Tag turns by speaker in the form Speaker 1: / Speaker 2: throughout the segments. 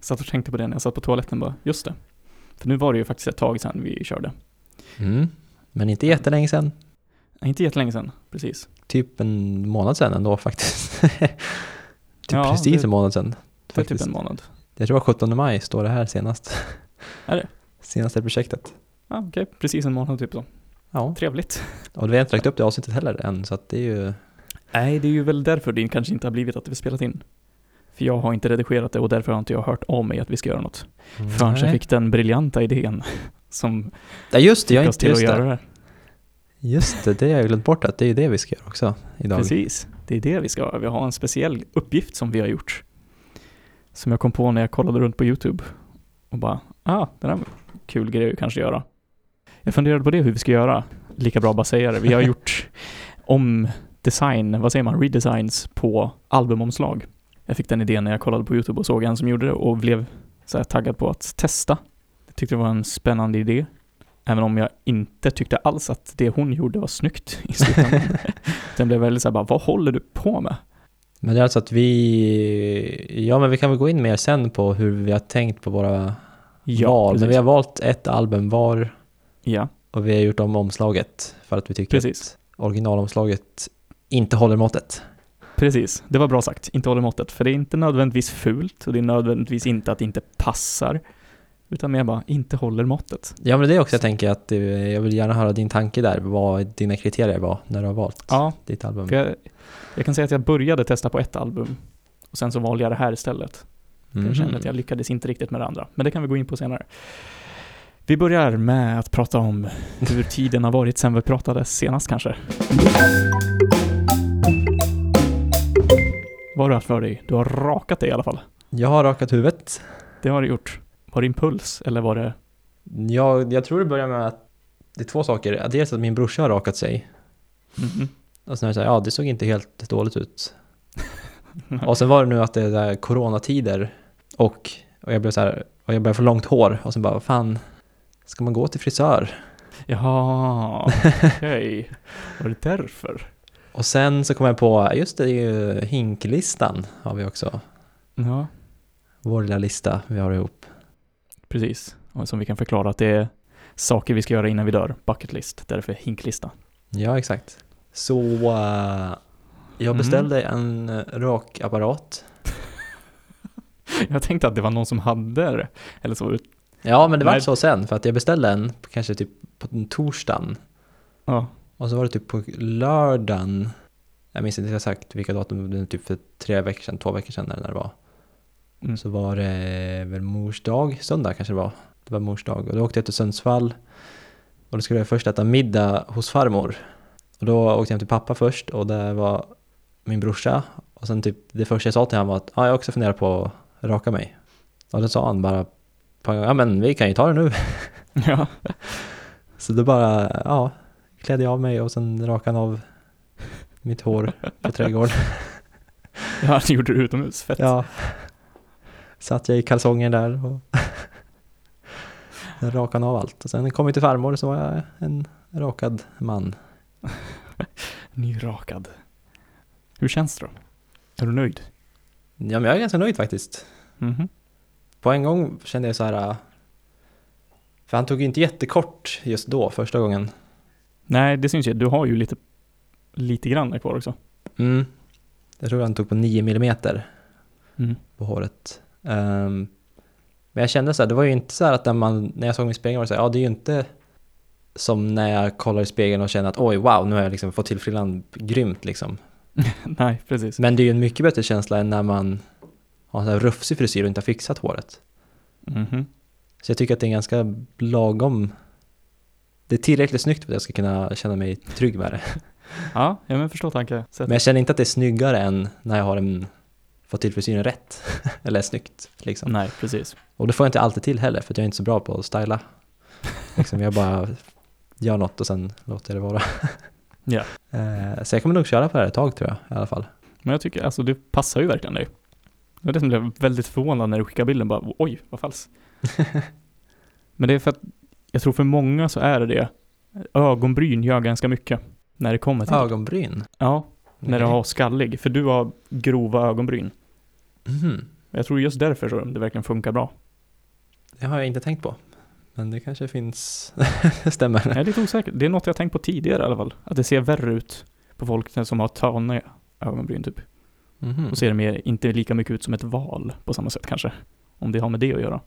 Speaker 1: Satt och tänkte på det när jag satt på toaletten bara, just det. För nu var det ju faktiskt ett tag sedan vi körde.
Speaker 2: Mm. Men inte jättelänge sedan.
Speaker 1: Nej, Inte jättelänge sedan, precis.
Speaker 2: Typ en månad sedan ändå faktiskt. typ
Speaker 1: Ja,
Speaker 2: precis
Speaker 1: det-
Speaker 2: en månad sedan.
Speaker 1: För typ
Speaker 2: faktiskt.
Speaker 1: en månad.
Speaker 2: Jag tror det var 17 maj står det här senast.
Speaker 1: Är det?
Speaker 2: Senaste projektet.
Speaker 1: Ja, okej, precis en månad typ så.
Speaker 2: Ja,
Speaker 1: Trevligt.
Speaker 2: och vi har inte lagt upp det avsnittet heller än så att det är ju...
Speaker 1: Nej, det är ju väl därför det kanske inte har blivit att vi spelat in. För jag har inte redigerat det och därför har inte jag hört av mig att vi ska göra något. Förrän jag
Speaker 2: Nej.
Speaker 1: fick den briljanta idén som
Speaker 2: Ja just det, jag
Speaker 1: fick
Speaker 2: har
Speaker 1: oss
Speaker 2: inte,
Speaker 1: till att
Speaker 2: just,
Speaker 1: göra
Speaker 2: det.
Speaker 1: det här.
Speaker 2: just det, det har jag glömt bort att det är ju det vi ska göra också idag.
Speaker 1: Precis, det är det vi ska göra. Vi har en speciell uppgift som vi har gjort. Som jag kom på när jag kollade runt på YouTube och bara, ah, den här var en kul grej att kanske göra. Jag funderade på det, hur vi ska göra. Lika bra bara säga det. Vi har gjort om design, vad säger man, redesigns på albumomslag. Jag fick den idén när jag kollade på YouTube och såg en som gjorde det och blev så här taggad på att testa. Jag tyckte det var en spännande idé. Även om jag inte tyckte alls att det hon gjorde var snyggt i slutändan. Den blev väldigt såhär bara, vad håller du på med?
Speaker 2: Men det är alltså att vi... Ja men vi kan väl gå in mer sen på hur vi har tänkt på våra val. Men vi har valt ett album var
Speaker 1: ja,
Speaker 2: och vi har gjort om omslaget för att vi tycker
Speaker 1: Precis.
Speaker 2: att originalomslaget inte håller måttet.
Speaker 1: precis. Det var bra sagt. Inte håller måttet. För det är inte nödvändigtvis fult och det är nödvändigtvis inte att det inte passar. Utan mer bara, inte håller måttet.
Speaker 2: Ja men det är också jag tänker att eh, jag vill gärna höra din tanke där, vad dina kriterier var när du har valt
Speaker 1: Ja,
Speaker 2: ditt album.
Speaker 1: för jag, jag kan säga att jag började testa på ett album. Och sen så valde jag det här istället. För Jag
Speaker 2: Mm.
Speaker 1: kände att jag lyckades inte riktigt med det andra. Men det kan vi gå in på senare. Vi börjar med att prata om hur tiden har varit sen vi pratade senast kanske. Vad har du haft för dig? Du har rakat dig i alla fall.
Speaker 2: Jag har rakat huvudet.
Speaker 1: Det har du gjort. Var det impuls eller var det...
Speaker 2: Jag, jag tror det börjar med att det är två saker. Dels att min brorsa har rakat sig.
Speaker 1: Mhm.
Speaker 2: Och sen är det så här, ja det såg inte helt dåligt ut. och sen var det nu att det är där coronatider och, och jag blev så här, och jag började få långt hår och sen bara, vad fan, ska man gå till frisör?
Speaker 1: Jaha, okej. Var det därför?
Speaker 2: Och sen så kom jag på, just det, det är ju hinklistan har vi också.
Speaker 1: Ja,
Speaker 2: Vår lilla lista vi har ihop.
Speaker 1: precis. Och som vi kan förklara att det är saker vi ska göra innan vi dör. Bucket list, därför hinklista.
Speaker 2: Ja, exakt. Så eh, jag
Speaker 1: Mm.
Speaker 2: beställde en eh, rakapparat.
Speaker 1: Jag tänkte att det var någon som hade det. Eller så var det
Speaker 2: Ja, men det var
Speaker 1: Nej.
Speaker 2: så sen för att jag beställde en på- kanske typ på den torsdagen
Speaker 1: Ja,
Speaker 2: och så var det typ på lördagen. Jag minns inte exakt vilka datum, men typ för tre veckor sedan, två veckor sedan eller när det var.
Speaker 1: Mm.
Speaker 2: Så var det väl mors dag, söndag kanske det var. Det var mors dag och då åkte jag till Sundsvall och då skulle jag först äta middag hos farmor. Och då åkte jag hem till pappa först och där var min brorsa. Och sen typ det första jag sa till honom var att ah, jag har också funderar på att raka mig. Och då sa han bara på en gång, ja men vi kan ju ta det nu.
Speaker 1: ja.
Speaker 2: Så då bara, ja, klädde jag av mig och sen rakade han av mitt hår på trädgården.
Speaker 1: ja det gjorde du utomhus. Fett.
Speaker 2: Ja. Satt jag i kalsonger där och sen rakade han av allt. Och sen kom jag till farmor så var jag en rakad man.
Speaker 1: Nyrakad. Hur känns det då? Är du nöjd?
Speaker 2: Ja men jag är ganska nöjd faktiskt.
Speaker 1: Mhm.
Speaker 2: På en gång kände jag så här, äh, för han tog ju inte jättekort just då första gången.
Speaker 1: Nej, det syns ju. Du har ju lite, lite grann kvar också.
Speaker 2: Mm. Jag tror han tog på 9 millimeter.
Speaker 1: Mm.
Speaker 2: på håret. Ehm, men jag kände så här, det var ju inte så här att när, man, när jag såg mig i spegeln var det så här, ja det är ju inte som när jag kollar i spegeln och känner att oj wow, nu har jag liksom fått till frillan grymt liksom.
Speaker 1: Nej, precis.
Speaker 2: Men det är ju en mycket bättre känsla än när man har en så här rufsig frisyr och inte har fixat håret.
Speaker 1: Mhm.
Speaker 2: Så jag tycker att det är en ganska lagom, det är tillräckligt snyggt för att jag ska kunna känna mig trygg med det.
Speaker 1: Ja, ja, men förstår tanken.
Speaker 2: Men jag känner inte att det är snyggare än när jag har en, fått till frisyren rätt. Eller snyggt liksom.
Speaker 1: Nej, precis.
Speaker 2: Och det får jag inte alltid till heller för att jag är inte så bra på att styla. Liksom jag bara gör något och sen låter jag det vara.
Speaker 1: Ja.
Speaker 2: Eh, Så jag kommer nog köra på det här ett tag tror jag i alla fall.
Speaker 1: Men jag tycker, alltså det passar ju verkligen dig. Det var det som blev väldigt förvånad när du skickade bilden, bara oj, vad falsk. Men det är för att, jag tror för många så är det det. Ögonbryn gör ganska mycket när det kommer till
Speaker 2: Ögonbryn.
Speaker 1: Ja, när du
Speaker 2: Okej.
Speaker 1: har skallig. För du har grova ögonbryn.
Speaker 2: Mhm.
Speaker 1: Men jag tror just därför så det verkligen funkar bra.
Speaker 2: Det har jag inte tänkt på. Men det kanske finns, stämmer.
Speaker 1: Jag är lite osäker. Det är något jag tänkt på tidigare i alla fall. Att det ser värre ut på folk som har tana ögonbryn typ.
Speaker 2: Mhm.
Speaker 1: Då ser det mer, inte lika mycket ut som ett val på samma sätt kanske. Om det har med det att göra.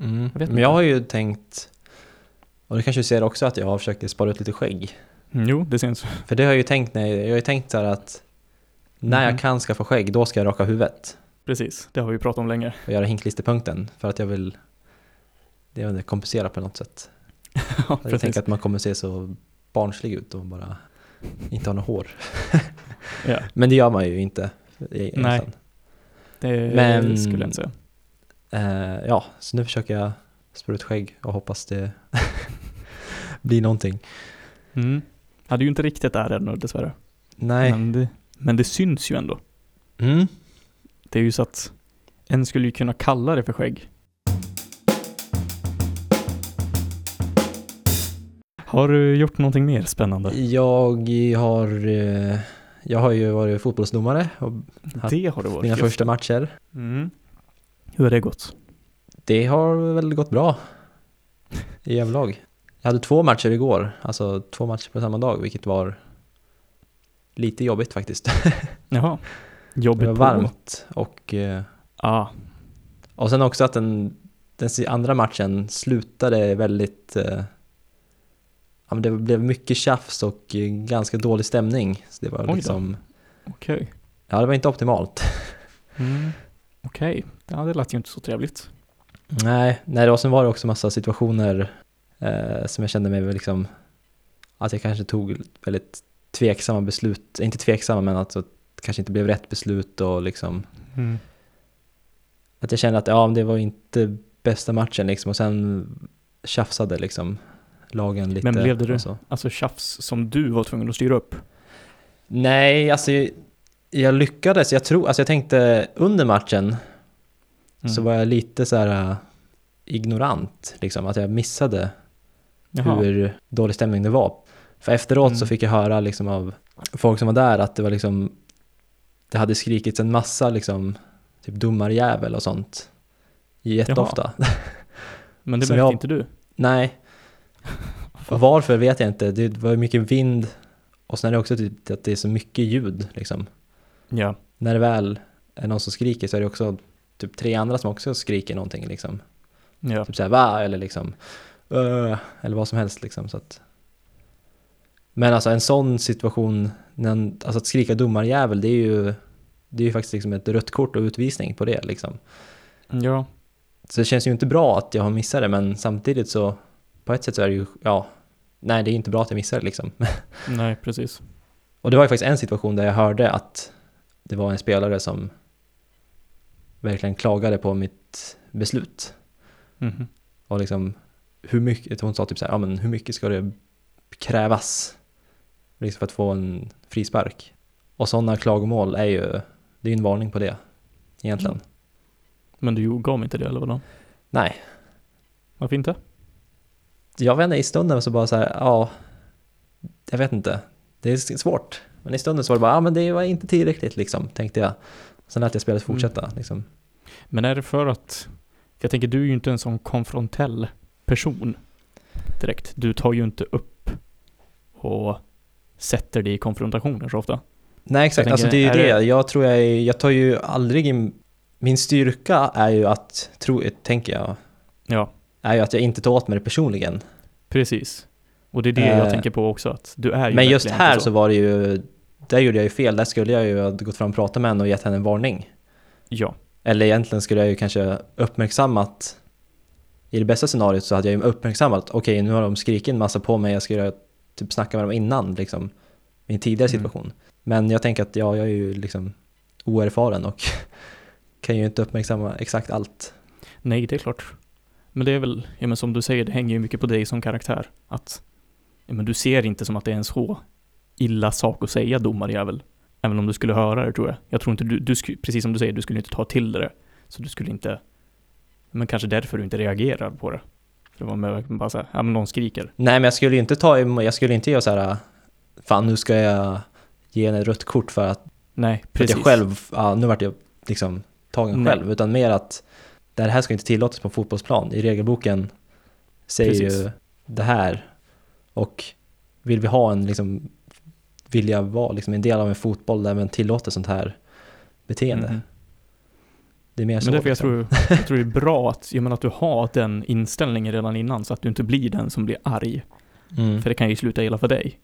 Speaker 2: Mm.
Speaker 1: Jag vet
Speaker 2: Men
Speaker 1: inte.
Speaker 2: jag har ju tänkt, och det kanske du ser också att jag har försökt spara ut lite skägg.
Speaker 1: Mm, jo, det syns.
Speaker 2: För det har jag ju tänkt när jag, jag har ju tänkt så här att när
Speaker 1: Mhm.
Speaker 2: jag kan skaffa skägg, då ska jag raka huvudet
Speaker 1: Precis, det har vi ju pratat om länge.
Speaker 2: och göra hinklisterpunkten för att jag vill det jag vet inte, kompensera på något sätt.
Speaker 1: ja,
Speaker 2: Jag
Speaker 1: precis.
Speaker 2: tänker att man kommer se så barnslig ut och bara inte har något hår.
Speaker 1: Ja,
Speaker 2: Men det gör man ju inte. e-
Speaker 1: Nej.
Speaker 2: egentligen.
Speaker 1: det
Speaker 2: Men-
Speaker 1: skulle jag inte säga.
Speaker 2: Eh, ja, så nu försöker jag spara ut skägg och hoppas det blir någonting.
Speaker 1: Mm. Hade ju inte riktigt där ännu dessvärre.
Speaker 2: Nej.
Speaker 1: Men, det, men det syns ju ändå.
Speaker 2: Mm.
Speaker 1: Det är ju så att en skulle ju kunna kalla det för skägg. Har du gjort någonting mer spännande?
Speaker 2: Jag har, eh, jag har ju varit fotbollsdomare och
Speaker 1: Det har det varit.
Speaker 2: mina
Speaker 1: just.
Speaker 2: första matcher.
Speaker 1: Mm. Hur har det gått?
Speaker 2: Det har väl gått bra i överlag. Jag hade två matcher igår, alltså två matcher på samma dag, vilket var lite jobbigt faktiskt.
Speaker 1: Jaha. Jobbigt
Speaker 2: Det var
Speaker 1: på.
Speaker 2: varmt och, eh,
Speaker 1: Ah,
Speaker 2: och sen också att den, den si- andra matchen slutade väldigt... eh, Ja, men det blev mycket tjafs och eh, ganska dålig stämning. Så det
Speaker 1: Oj
Speaker 2: var
Speaker 1: då.
Speaker 2: liksom...
Speaker 1: okej.
Speaker 2: Ja, det var inte optimalt.
Speaker 1: Mm. Okej, ja, det lät ju inte så trevligt.
Speaker 2: Nej, nej och sen var det också massa situationer eh, som jag kände mig väl liksom att jag kanske tog väldigt tveksamma beslut, inte tveksamma men att det kanske inte blev rätt beslut och liksom
Speaker 1: Mm.
Speaker 2: att jag kände att ja, men det var inte bästa matchen liksom och sen tjafsade liksom lagen lite.
Speaker 1: blev det du?
Speaker 2: och så.
Speaker 1: Alltså tjafs som du var tvungen att styra upp.
Speaker 2: Nej, alltså jag lyckades, jag tror, alltså jag tänkte under matchen
Speaker 1: Mm.
Speaker 2: så var jag lite så här eh, ignorant liksom, att jag missade
Speaker 1: Jaha.
Speaker 2: hur dålig stämning det var. För efteråt så
Speaker 1: Mm.
Speaker 2: fick jag höra liksom av folk som var där att det var liksom det hade skrikits en massa liksom typ domarjävel och sånt jätteofta.
Speaker 1: Men det
Speaker 2: som
Speaker 1: märkte
Speaker 2: jag-
Speaker 1: inte du?
Speaker 2: Nej. Och varför vet jag inte. Det var ju mycket vind och sen är det också typ att det är så mycket ljud liksom.
Speaker 1: Ja.
Speaker 2: När det väl är någon som skriker så är det också typ tre andra som också skriker någonting liksom.
Speaker 1: ja.
Speaker 2: Typ såhär va? Eller liksom "Öh", Eller vad som helst liksom. Så att. Men alltså en sån situation, när en, alltså att skrika domarjävel, det är ju, det är ju faktiskt liksom ett rött kort och utvisning på det liksom.
Speaker 1: Ja.
Speaker 2: Så det känns ju inte bra att jag har missat det, men samtidigt så, på ett sätt så är det ju, ja, nej det är inte bra att jag missar det liksom.
Speaker 1: Nej, precis.
Speaker 2: Och det var ju faktiskt en situation där jag hörde att det var en spelare som verkligen klagade på mitt beslut.
Speaker 1: Mhm.
Speaker 2: Och liksom, hur mycket, hon sa typ så här, ja men hur mycket ska det krävas liksom för att få en frispark? Och sådana klagomål är ju, det är ju en varning på det egentligen.
Speaker 1: Men du gav mig inte det eller vadå?
Speaker 2: Nej,
Speaker 1: Varför inte?
Speaker 2: jag vet inte, i stunden så bara så här, ja, jag vet inte, det är svårt. Men i stunden så var det bara, ja men det var inte tillräckligt liksom, tänkte jag. Sen lät jag spelet fortsätta liksom.
Speaker 1: Men är det för att, för jag tänker du är ju inte en sån konfrontell person direkt. Du tar ju inte upp och sätter dig i konfrontationer så ofta.
Speaker 2: Nej exakt,
Speaker 1: Jag tänker,
Speaker 2: alltså det är ju
Speaker 1: är
Speaker 2: det. Jag tror jag, är- jag tar ju aldrig in, min styrka är ju att, tro, tänker jag,
Speaker 1: Ja,
Speaker 2: är ju att jag inte tar åt mig det personligen.
Speaker 1: precis. Och det är det
Speaker 2: Eh,
Speaker 1: jag tänker på också, att du är ju
Speaker 2: Men just
Speaker 1: verkligen inte
Speaker 2: här så var det ju, där gjorde jag ju fel, där skulle jag ju ha gått fram och pratat med henne och gett henne en varning.
Speaker 1: Ja,
Speaker 2: Eller egentligen skulle jag ju kanske uppmärksammat, i det bästa scenariot så hade jag ju uppmärksammat, okej nu har de skrikit en massa på mig, jag skulle typ snacka med dem innan liksom, i en tidigare
Speaker 1: Mm.
Speaker 2: situation. Men jag tänker att ja, jag är ju liksom oerfaren och kan ju inte uppmärksamma exakt allt.
Speaker 1: nej det är klart. Men det är väl, ja men som du säger, det hänger ju mycket på dig som karaktär. Att, ja men du ser inte som att det är en så illa sak att säga domarjävel. Även om du skulle höra det tror jag. Jag tror inte du, du sku, precis som du säger, du skulle inte ta till det. Så du skulle inte, men kanske därför du inte reagerar på det. För det var mer bara såhär, ja men någon skriker.
Speaker 2: Nej men jag skulle ju inte ta, emot- jag skulle inte göra så här, fan nu ska jag ge henne ett rött kort för att
Speaker 1: Nej,
Speaker 2: För att
Speaker 1: precis.
Speaker 2: jag själv, ja, nu vart jag liksom tagen
Speaker 1: Nej.
Speaker 2: själv, utan mer att det här ska inte tillåtas på en fotbollsplan. I regelboken säger
Speaker 1: Precis.
Speaker 2: ju det här och vill vi ha en, liksom, vilja vara liksom, en del av en fotboll där man tillåter sånt här beteende.
Speaker 1: Mhm.
Speaker 2: Det är mer så.
Speaker 1: Men därför jag
Speaker 2: liksom.
Speaker 1: tror, jag tror det är bra att, jag menar att du har den inställningen redan innan så att du inte blir den som blir arg.
Speaker 2: Mm.
Speaker 1: För det kan ju sluta illa för dig.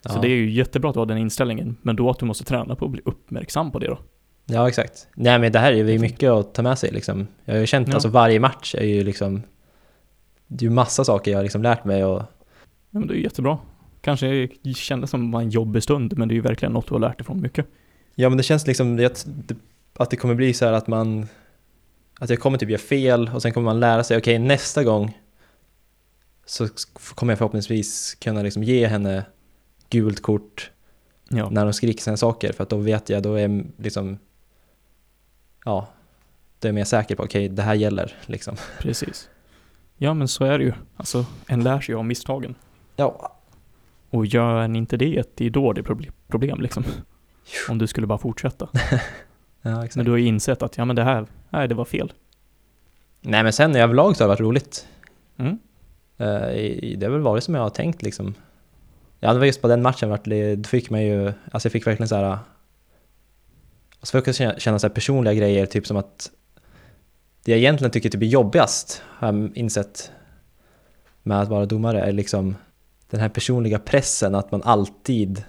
Speaker 1: Så
Speaker 2: Ja.
Speaker 1: det är ju jättebra att du har den inställningen, men då att du måste träna på att bli uppmärksam på det då.
Speaker 2: Ja, exakt. Nej, men det här är ju mycket att ta med sig liksom. Jag har ju känt,
Speaker 1: Ja.
Speaker 2: alltså varje match är ju liksom, det är ju massa saker jag har liksom lärt mig och
Speaker 1: Ja, men det är ju jättebra. Kanske kändes som bara en jobbig stund, men det är ju verkligen något du har lärt dig från mycket.
Speaker 2: Ja men det känns liksom det- det- att det kommer bli så här att man att jag kommer typ göra fel och sen kommer man lära sig okej nästa gång så sk- kommer jag förhoppningsvis kunna liksom ge henne gult kort
Speaker 1: Ja,
Speaker 2: när hon skriker sina saker för att då vet jag, då är jag liksom ja, då är jag mer säker på okej det här gäller liksom.
Speaker 1: precis. Ja, men så är det ju. Alltså, en lär sig ju av misstagen.
Speaker 2: Ja,
Speaker 1: Och gör en inte det, det är då det är proble- problem liksom. Om du skulle bara fortsätta.
Speaker 2: ja
Speaker 1: Men
Speaker 2: exakt.
Speaker 1: du har ju insett att, ja men det här, nej det var fel.
Speaker 2: Nej men sen överlag så har det varit roligt.
Speaker 1: Mm.
Speaker 2: Eh, i- i- Det har väl varit som jag har tänkt liksom. Ja, det var just på den matchen vart det, då fick man ju, alltså jag fick verkligen så här. Alltså jag känna, känna så här personliga grejer, typ som att det jag egentligen tycker typ är jobbigast, har jag insett, med att vara domare, är liksom den här personliga pressen att man alltid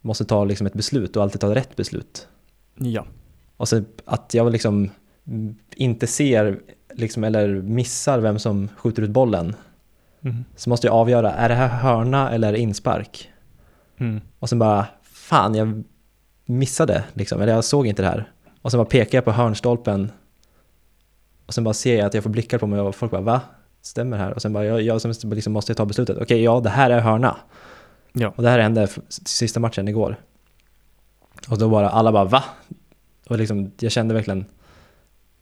Speaker 2: måste ta liksom ett beslut och alltid ta rätt beslut.
Speaker 1: Ja,
Speaker 2: Och så att jag liksom inte ser, liksom, eller missar vem som skjuter ut bollen
Speaker 1: mm.
Speaker 2: så måste jag avgöra, är det här hörna eller är det inspark?
Speaker 1: Mm.
Speaker 2: Och sen bara, fan jag missade liksom, eller jag såg inte det här. Och sen bara pekar jag på hörnstolpen och sen bara ser jag att jag får blickar på mig och folk bara, va? Stämmer det här? Och sen bara, jag, jag som liksom måste ta beslutet, okej ja det här är hörna.
Speaker 1: Ja.
Speaker 2: Och det här hände f- sista matchen igår. Och då bara, alla bara va? Och liksom, jag kände verkligen,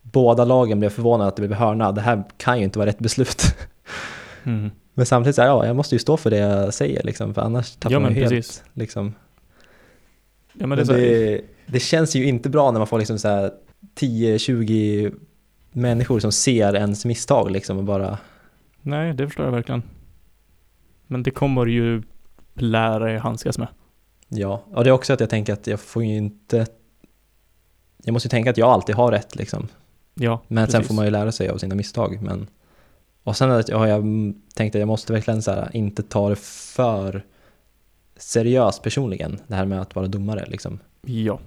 Speaker 2: båda lagen blev förvånade att det blev hörna, det här kan ju inte vara rätt beslut.
Speaker 1: Mm.
Speaker 2: Men samtidigt så här, ja, jag måste ju stå för det jag säger liksom, för annars tappar
Speaker 1: Ja,
Speaker 2: man
Speaker 1: men
Speaker 2: ju helt.
Speaker 1: precis.
Speaker 2: Liksom.
Speaker 1: Ja, men
Speaker 2: Men
Speaker 1: det,
Speaker 2: det,
Speaker 1: är så här,
Speaker 2: det, känns ju inte bra när man får liksom så här 10-20 människor som ser ens misstag liksom och bara,
Speaker 1: nej det förstår jag verkligen. Men det kommer du ju lära dig handskas med.
Speaker 2: ja. Och det är också att jag tänker att jag får ju inte, jag måste ju tänka att jag alltid har rätt liksom.
Speaker 1: Ja,
Speaker 2: Men sen
Speaker 1: precis.
Speaker 2: får man ju lära sig av sina misstag. Men, och sen att jag har jag mm, tänkt att jag måste verkligen så här, inte ta det för seriöst personligen, det här med att vara domare liksom.
Speaker 1: Ja,
Speaker 2: Jag,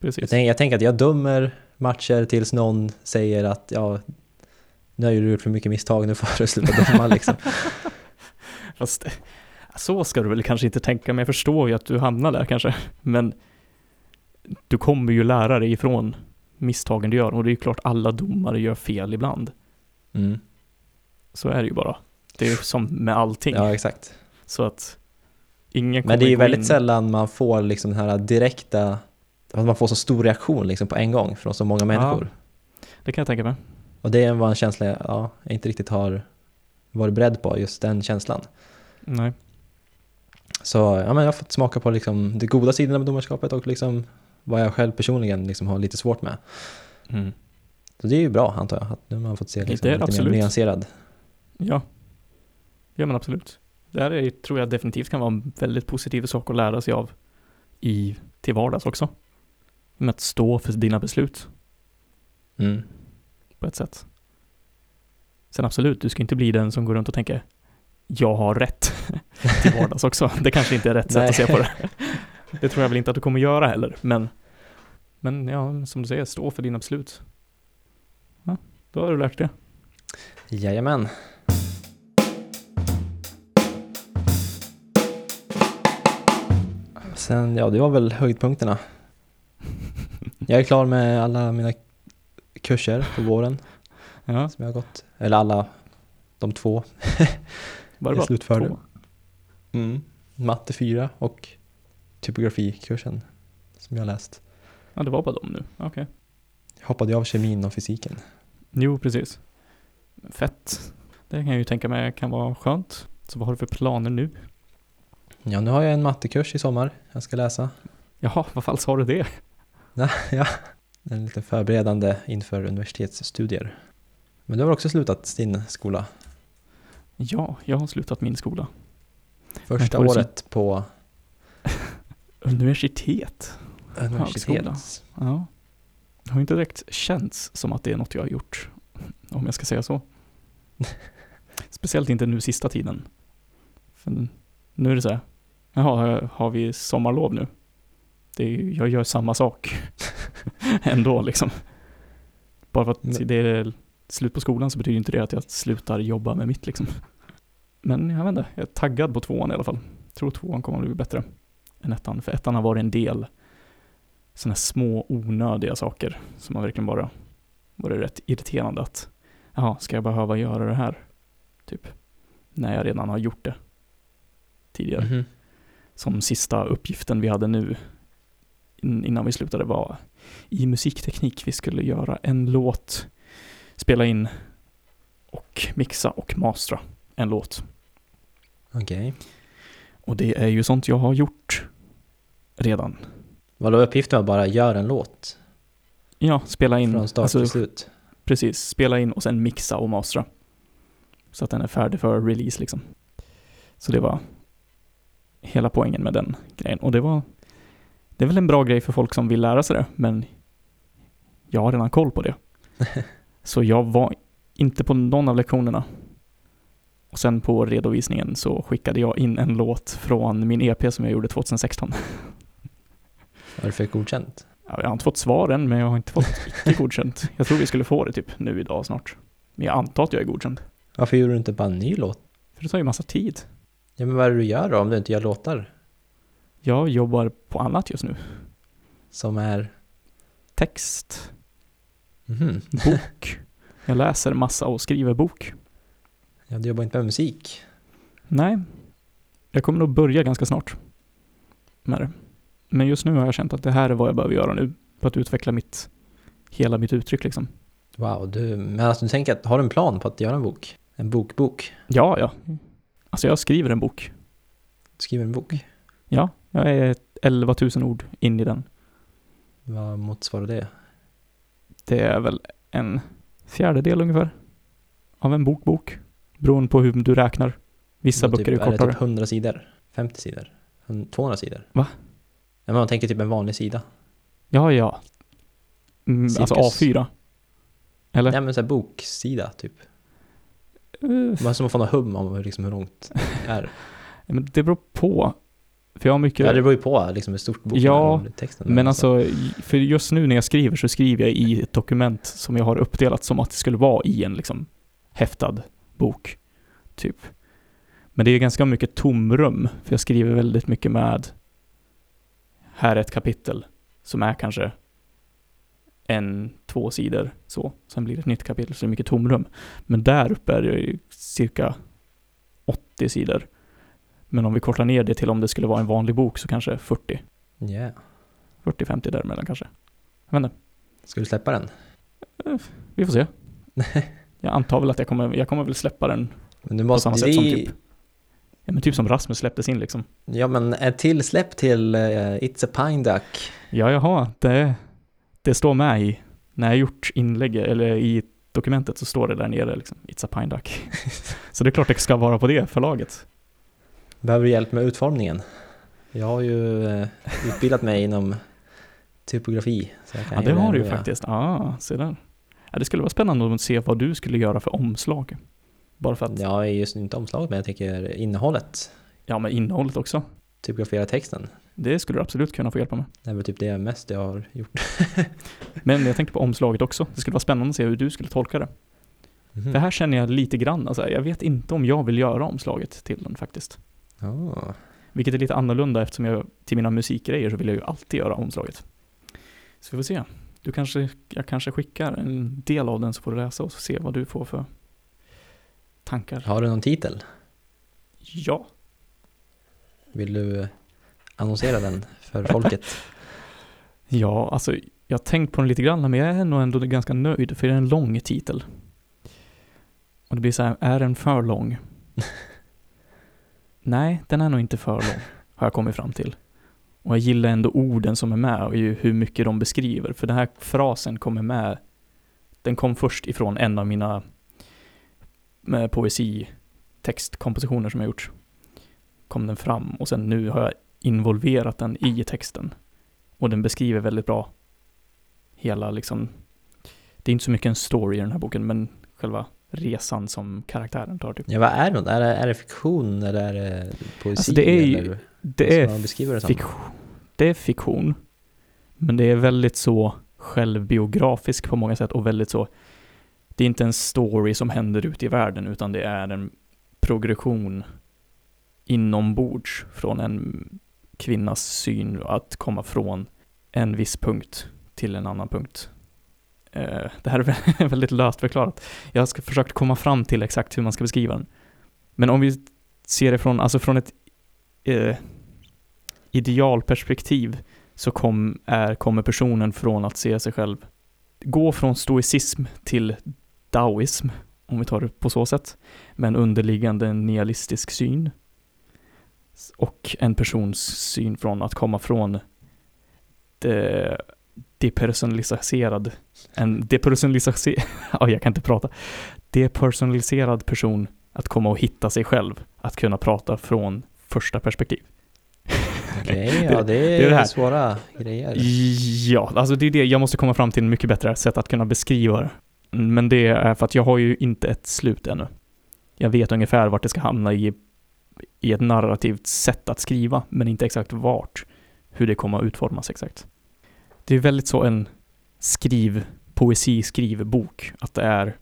Speaker 1: precis.
Speaker 2: tänk, jag tänker att jag dömer matcher tills någon säger att ja, nu har ju du gjort för mycket misstag, nu får du sluta döma liksom.
Speaker 1: Fast så ska du väl kanske inte tänka, men jag förstår ju att du hamnar där kanske. Men du kommer ju lära dig ifrån misstagen du gör och det är ju klart alla domare gör fel ibland.
Speaker 2: Mm.
Speaker 1: Så är det ju bara. Det är ju som med allting.
Speaker 2: Ja, exakt.
Speaker 1: Så att ingen kommer
Speaker 2: Men det är ju
Speaker 1: gå in-
Speaker 2: väldigt sällan man får liksom den här direkta, att man får så stor reaktion liksom på en gång från så många människor.
Speaker 1: Det kan jag tänka mig.
Speaker 2: Och det var en känsla jag, ja, jag inte riktigt har varit beredd på, just den känslan.
Speaker 1: Nej.
Speaker 2: Så ja, men jag har fått smaka på liksom de goda sidorna med domarskapet och liksom vad jag själv personligen liksom har lite svårt med.
Speaker 1: Mm.
Speaker 2: Så det är ju bra antar jag, att nu har man fått se liksom,
Speaker 1: Det är det
Speaker 2: lite
Speaker 1: absolut.
Speaker 2: mer nyanserad.
Speaker 1: Ja. Ja men absolut. Det här är, tror jag definitivt kan vara en väldigt positiv sak att lära sig av i, till vardags också. Med att stå för dina beslut.
Speaker 2: Mm.
Speaker 1: på ett sätt. Sen absolut, du ska inte bli den som går runt och tänker jag har rätt till vardags också. Det kanske inte är rätt sätt att se på det. Det tror jag väl inte att du kommer göra heller, men, men ja, som du säger, stå för dina beslut. Ja, då har du lärt dig det.
Speaker 2: Jajamän. Sen, ja det var väl höjdpunkterna. Jag är klar med alla mina kurser på våren
Speaker 1: Ja,
Speaker 2: som jag har gått. Eller alla, de två.
Speaker 1: var det
Speaker 2: Jag
Speaker 1: bara
Speaker 2: slutförde.
Speaker 1: två?
Speaker 2: Mm. Matte 4 och typografikursen som jag har läst.
Speaker 1: Ja, det var bara dem nu. Okej.
Speaker 2: Jag hoppade av kemin och fysiken.
Speaker 1: Jo, precis. Fett. Det kan jag ju tänka mig kan vara skönt. Så vad har du för planer nu?
Speaker 2: Ja, nu har jag en mattekurs i sommar jag ska läsa.
Speaker 1: Jaha, vad fan sa du det?
Speaker 2: Ja, En lite förberedande inför universitetsstudier. Men du har också slutat din skola?
Speaker 1: Ja, jag har slutat min skola.
Speaker 2: Första
Speaker 1: får du
Speaker 2: året på
Speaker 1: Universitet?
Speaker 2: universitet.
Speaker 1: Högskola. Ja. Det har inte direkt känts som att det är något jag har gjort, om jag ska säga så. Speciellt inte nu sista tiden. För nu är det så här, jaha, har- har vi sommarlov nu? Det är, ju- jag gör samma sak ändå liksom. Bara för att
Speaker 2: Men-
Speaker 1: det är slut på skolan så betyder inte det att jag slutar jobba med mitt liksom. Men jag vet inte, jag är taggad på tvåan i alla fall. tror tvåan kommer att bli bättre än ettan, för ettan har varit en del sådana små onödiga saker som har verkligen bara varit rätt irriterande att jaha, ska jag behöva göra det här? Typ. När jag redan har gjort det tidigare
Speaker 2: Mhm.
Speaker 1: som sista uppgiften vi hade nu in- innan vi slutade var i musikteknik. Vi skulle göra en låt, spela in och mixa och mastra en låt.
Speaker 2: Okej.
Speaker 1: Och det är ju sånt jag har gjort redan.
Speaker 2: Vadå, uppgiften var bara göra en låt
Speaker 1: Ja, spela in.
Speaker 2: från start
Speaker 1: alltså,
Speaker 2: till slut?
Speaker 1: Precis, spela in och sen mixa och mastra. Så att den är färdig för release liksom. Så det var hela poängen med den grejen. Och det var, det är väl en bra grej för folk som vill lära sig det, men jag har redan koll på det. Så jag var inte på någon av lektionerna. Och sen på redovisningen så skickade jag in en låt från min EP som jag gjorde 2016.
Speaker 2: Har du fått godkänt?
Speaker 1: Ja, Jag har inte fått svar än, men jag har inte fått icke godkänt. Jag tror vi skulle få det typ nu idag snart. Men jag antar att jag är godkänd.
Speaker 2: Varför gjorde du inte bara en ny låt?
Speaker 1: För det tar ju massa tid.
Speaker 2: Ja, men vad är det du gör då om du inte gör låtar
Speaker 1: Jag jobbar på annat just nu.
Speaker 2: som är...
Speaker 1: Text,
Speaker 2: Mhm.
Speaker 1: bok. Jag läser massa och skriver bok.
Speaker 2: Ja, du jobbar inte med musik.
Speaker 1: Nej, jag kommer nog börja ganska snart med det. Men just nu har jag känt att det här är vad jag behöver göra nu för att utveckla mitt, hela mitt uttryck liksom.
Speaker 2: Wow, du... Men alltså du tänker att, har du en plan på att göra en bok? En bokbok?
Speaker 1: Ja, ja. Alltså jag skriver en bok.
Speaker 2: Du skriver en bok.
Speaker 1: Ja, jag är 11 000 ord in i den.
Speaker 2: Vad motsvarar det?
Speaker 1: Det är väl en fjärdedel ungefär av en bokbok. Beroende på hur du räknar. Vissa
Speaker 2: Vad
Speaker 1: böcker
Speaker 2: typ,
Speaker 1: är kortare.
Speaker 2: det typ 100 sidor? 50 sidor? Hun- 200 sidor?
Speaker 1: Va?
Speaker 2: Ja, men man tänker typ en vanlig sida.
Speaker 1: Ja, ja. Mm, alltså
Speaker 2: Cirkus.
Speaker 1: A4. Eller?
Speaker 2: Nej men såhär boksida typ.
Speaker 1: Eh,
Speaker 2: Man som man får någon hum om hur, liksom, hur långt det är.
Speaker 1: men det beror på. För jag har mycket...
Speaker 2: Ja, det beror ju på liksom, hur stort boken
Speaker 1: Ja,
Speaker 2: är. och texten är.
Speaker 1: men alltså, för just nu när jag skriver så skriver jag i ett dokument som jag har uppdelat som att det skulle vara i en liksom häftad bok. Typ. Men det är ganska mycket tomrum, för jag skriver väldigt mycket med här är ett kapitel som är kanske en, två sidor så. Sen blir det ett nytt kapitel, så det är mycket tomrum. Men där uppe är det ju cirka 80 sidor. Men om vi kortar ner det till om det skulle vara en vanlig bok så kanske 40. alltså-
Speaker 2: Yeah.
Speaker 1: 40-50 däremellan kanske. Jag vet inte,
Speaker 2: Ska du släppa den?
Speaker 1: vi får se. jag antar väl att jag kommer, jag kommer väl släppa den
Speaker 2: Men du
Speaker 1: på
Speaker 2: måste
Speaker 1: samma sätt som typ, ja, men typ som Rasmus släpptes in liksom.
Speaker 2: Ja men ett till släpp till eh, It's a Pine Duck.
Speaker 1: Ja, jaha, det, det står med i, när jag gjort inlägget, eller i dokumentet så står det där nere liksom, It's a Pine Duck. så det är klart det ska vara på det förlaget.
Speaker 2: Behöver du hjälp med utformningen? Jag har ju eh, utbildat mig inom typografi. Så jag kan eh,
Speaker 1: Ja,
Speaker 2: ju
Speaker 1: det har du ju
Speaker 2: ändå göra.
Speaker 1: faktiskt. Ah, se där. Ja, det skulle vara spännande att se vad du skulle göra för omslag. Bara för att,
Speaker 2: Jag är just inte omslaget men jag tänker innehållet.
Speaker 1: ja men innehållet också.
Speaker 2: Typografera texten.
Speaker 1: Det skulle du absolut kunna få hjälpa med.
Speaker 2: Det är väl typ det mest jag har gjort.
Speaker 1: Men jag tänkte på omslaget också. Det skulle vara spännande att se hur du skulle tolka det.
Speaker 2: Mhm.
Speaker 1: För här känner jag lite grann, alltså, jag vet inte om jag vill göra omslaget till den faktiskt.
Speaker 2: Ja.
Speaker 1: Vilket är lite annorlunda eftersom jag till mina musikgrejer så vill jag ju alltid göra omslaget. Så vi får se. Du kanske, jag kanske skickar en del av den så får du läsa och se vad du får för tankar.
Speaker 2: Har du någon titel?
Speaker 1: Ja,
Speaker 2: Vill du eh, annonsera den för folket?
Speaker 1: ja alltså jag har tänkt på den lite grann men jag är nog ändå ganska nöjd för det är en lång titel. Och det blir så här, är den för lång? Nej, den är nog inte för lång, har jag kommit fram till. Och jag gillar ändå orden som är med och ju hur mycket de beskriver. För den här frasen kommer med, den kom först ifrån en av mina eh, poesitextkompositioner som jag gjort. Kom den fram och sen nu har jag involverat den i texten. Och den beskriver väldigt bra hela liksom, det är inte så mycket en story i den här boken men själva resan som karaktären tar typ.
Speaker 2: Ja, vad är det? då? Är det, är det fiktion eller är det poesi?
Speaker 1: Alltså, det är ju-
Speaker 2: eller,
Speaker 1: Det är
Speaker 2: som man beskriver det som?
Speaker 1: fiktion. Det är fiktion. Men det är väldigt så självbiografisk på många sätt och väldigt så. Det är inte en story som händer ute i världen utan det är en progression inombords från en kvinnas syn att komma från en viss punkt till en annan punkt. Eh, Det här är vä- väldigt löst förklarat. Jag har ska- försökt komma fram till exakt hur man ska beskriva den. Men om vi ser det från, alltså från ett eh, idealperspektiv så kom, är, kommer personen från att se sig själv gå från stoicism till daoism, om vi tar det på så sätt, med en underliggande nihilistisk syn. S- Och en persons syn från att komma från det depersonaliserad, en depersonaliserad, ja jag kan inte prata, depersonaliserad person att komma och hitta sig själv, att kunna prata från första perspektiv.
Speaker 2: Okej, ja det är,
Speaker 1: det är det här.
Speaker 2: svåra grejer.
Speaker 1: Ja, alltså det är det jag måste komma fram till en mycket bättre sätt att kunna beskriva det. Men det är för att jag har ju inte ett slut ännu. Jag vet ungefär vart det ska hamna i, i ett narrativt sätt att skriva, men inte exakt vart, hur det kommer att utformas exakt. Det är väldigt så en skriv, poesi, skrivbok, att det är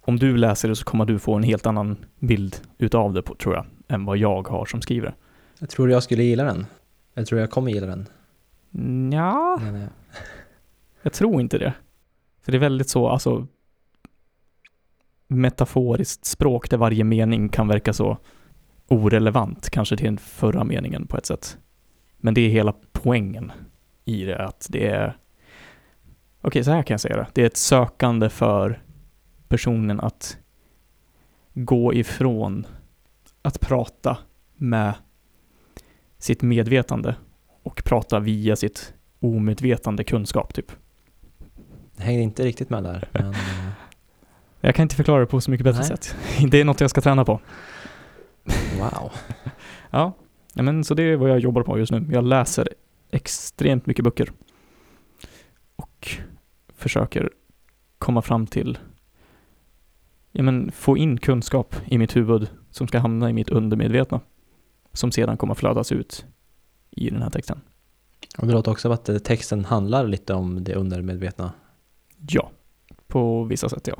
Speaker 1: om du läser det så kommer du få en helt annan bild utav det, på, tror jag, än vad jag har som skrivare.
Speaker 2: Jag tror jag skulle gilla den. Jag tror jag kommer gilla den.
Speaker 1: Ja,
Speaker 2: Men, eh,
Speaker 1: Jag tror inte det. För det är väldigt så, alltså metaforiskt språk där varje mening kan verka så orelevant, kanske till den förra meningen på ett sätt. Men det är hela poängen i det, att det är... Okej, så här kan jag säga det. Det är ett sökande för personen att gå ifrån att prata med sitt medvetande och prata via sitt omedvetande kunskap, typ.
Speaker 2: Jag hängde inte riktigt med där. Men, eh,
Speaker 1: Jag kan inte förklara det på så mycket bättre
Speaker 2: Nej.
Speaker 1: sätt. Det är något jag ska träna på.
Speaker 2: wow.
Speaker 1: Ja. ja, men så det är vad jag jobbar på just nu. Jag läser extremt mycket böcker. Och försöker komma fram till, ja men få in kunskap i mitt huvud som ska hamna i mitt undermedvetna. Som sedan kommer flödas ut i den här texten.
Speaker 2: Och det låter också som att eh, texten handlar lite om det undermedvetna.
Speaker 1: Ja, på vissa sätt ja.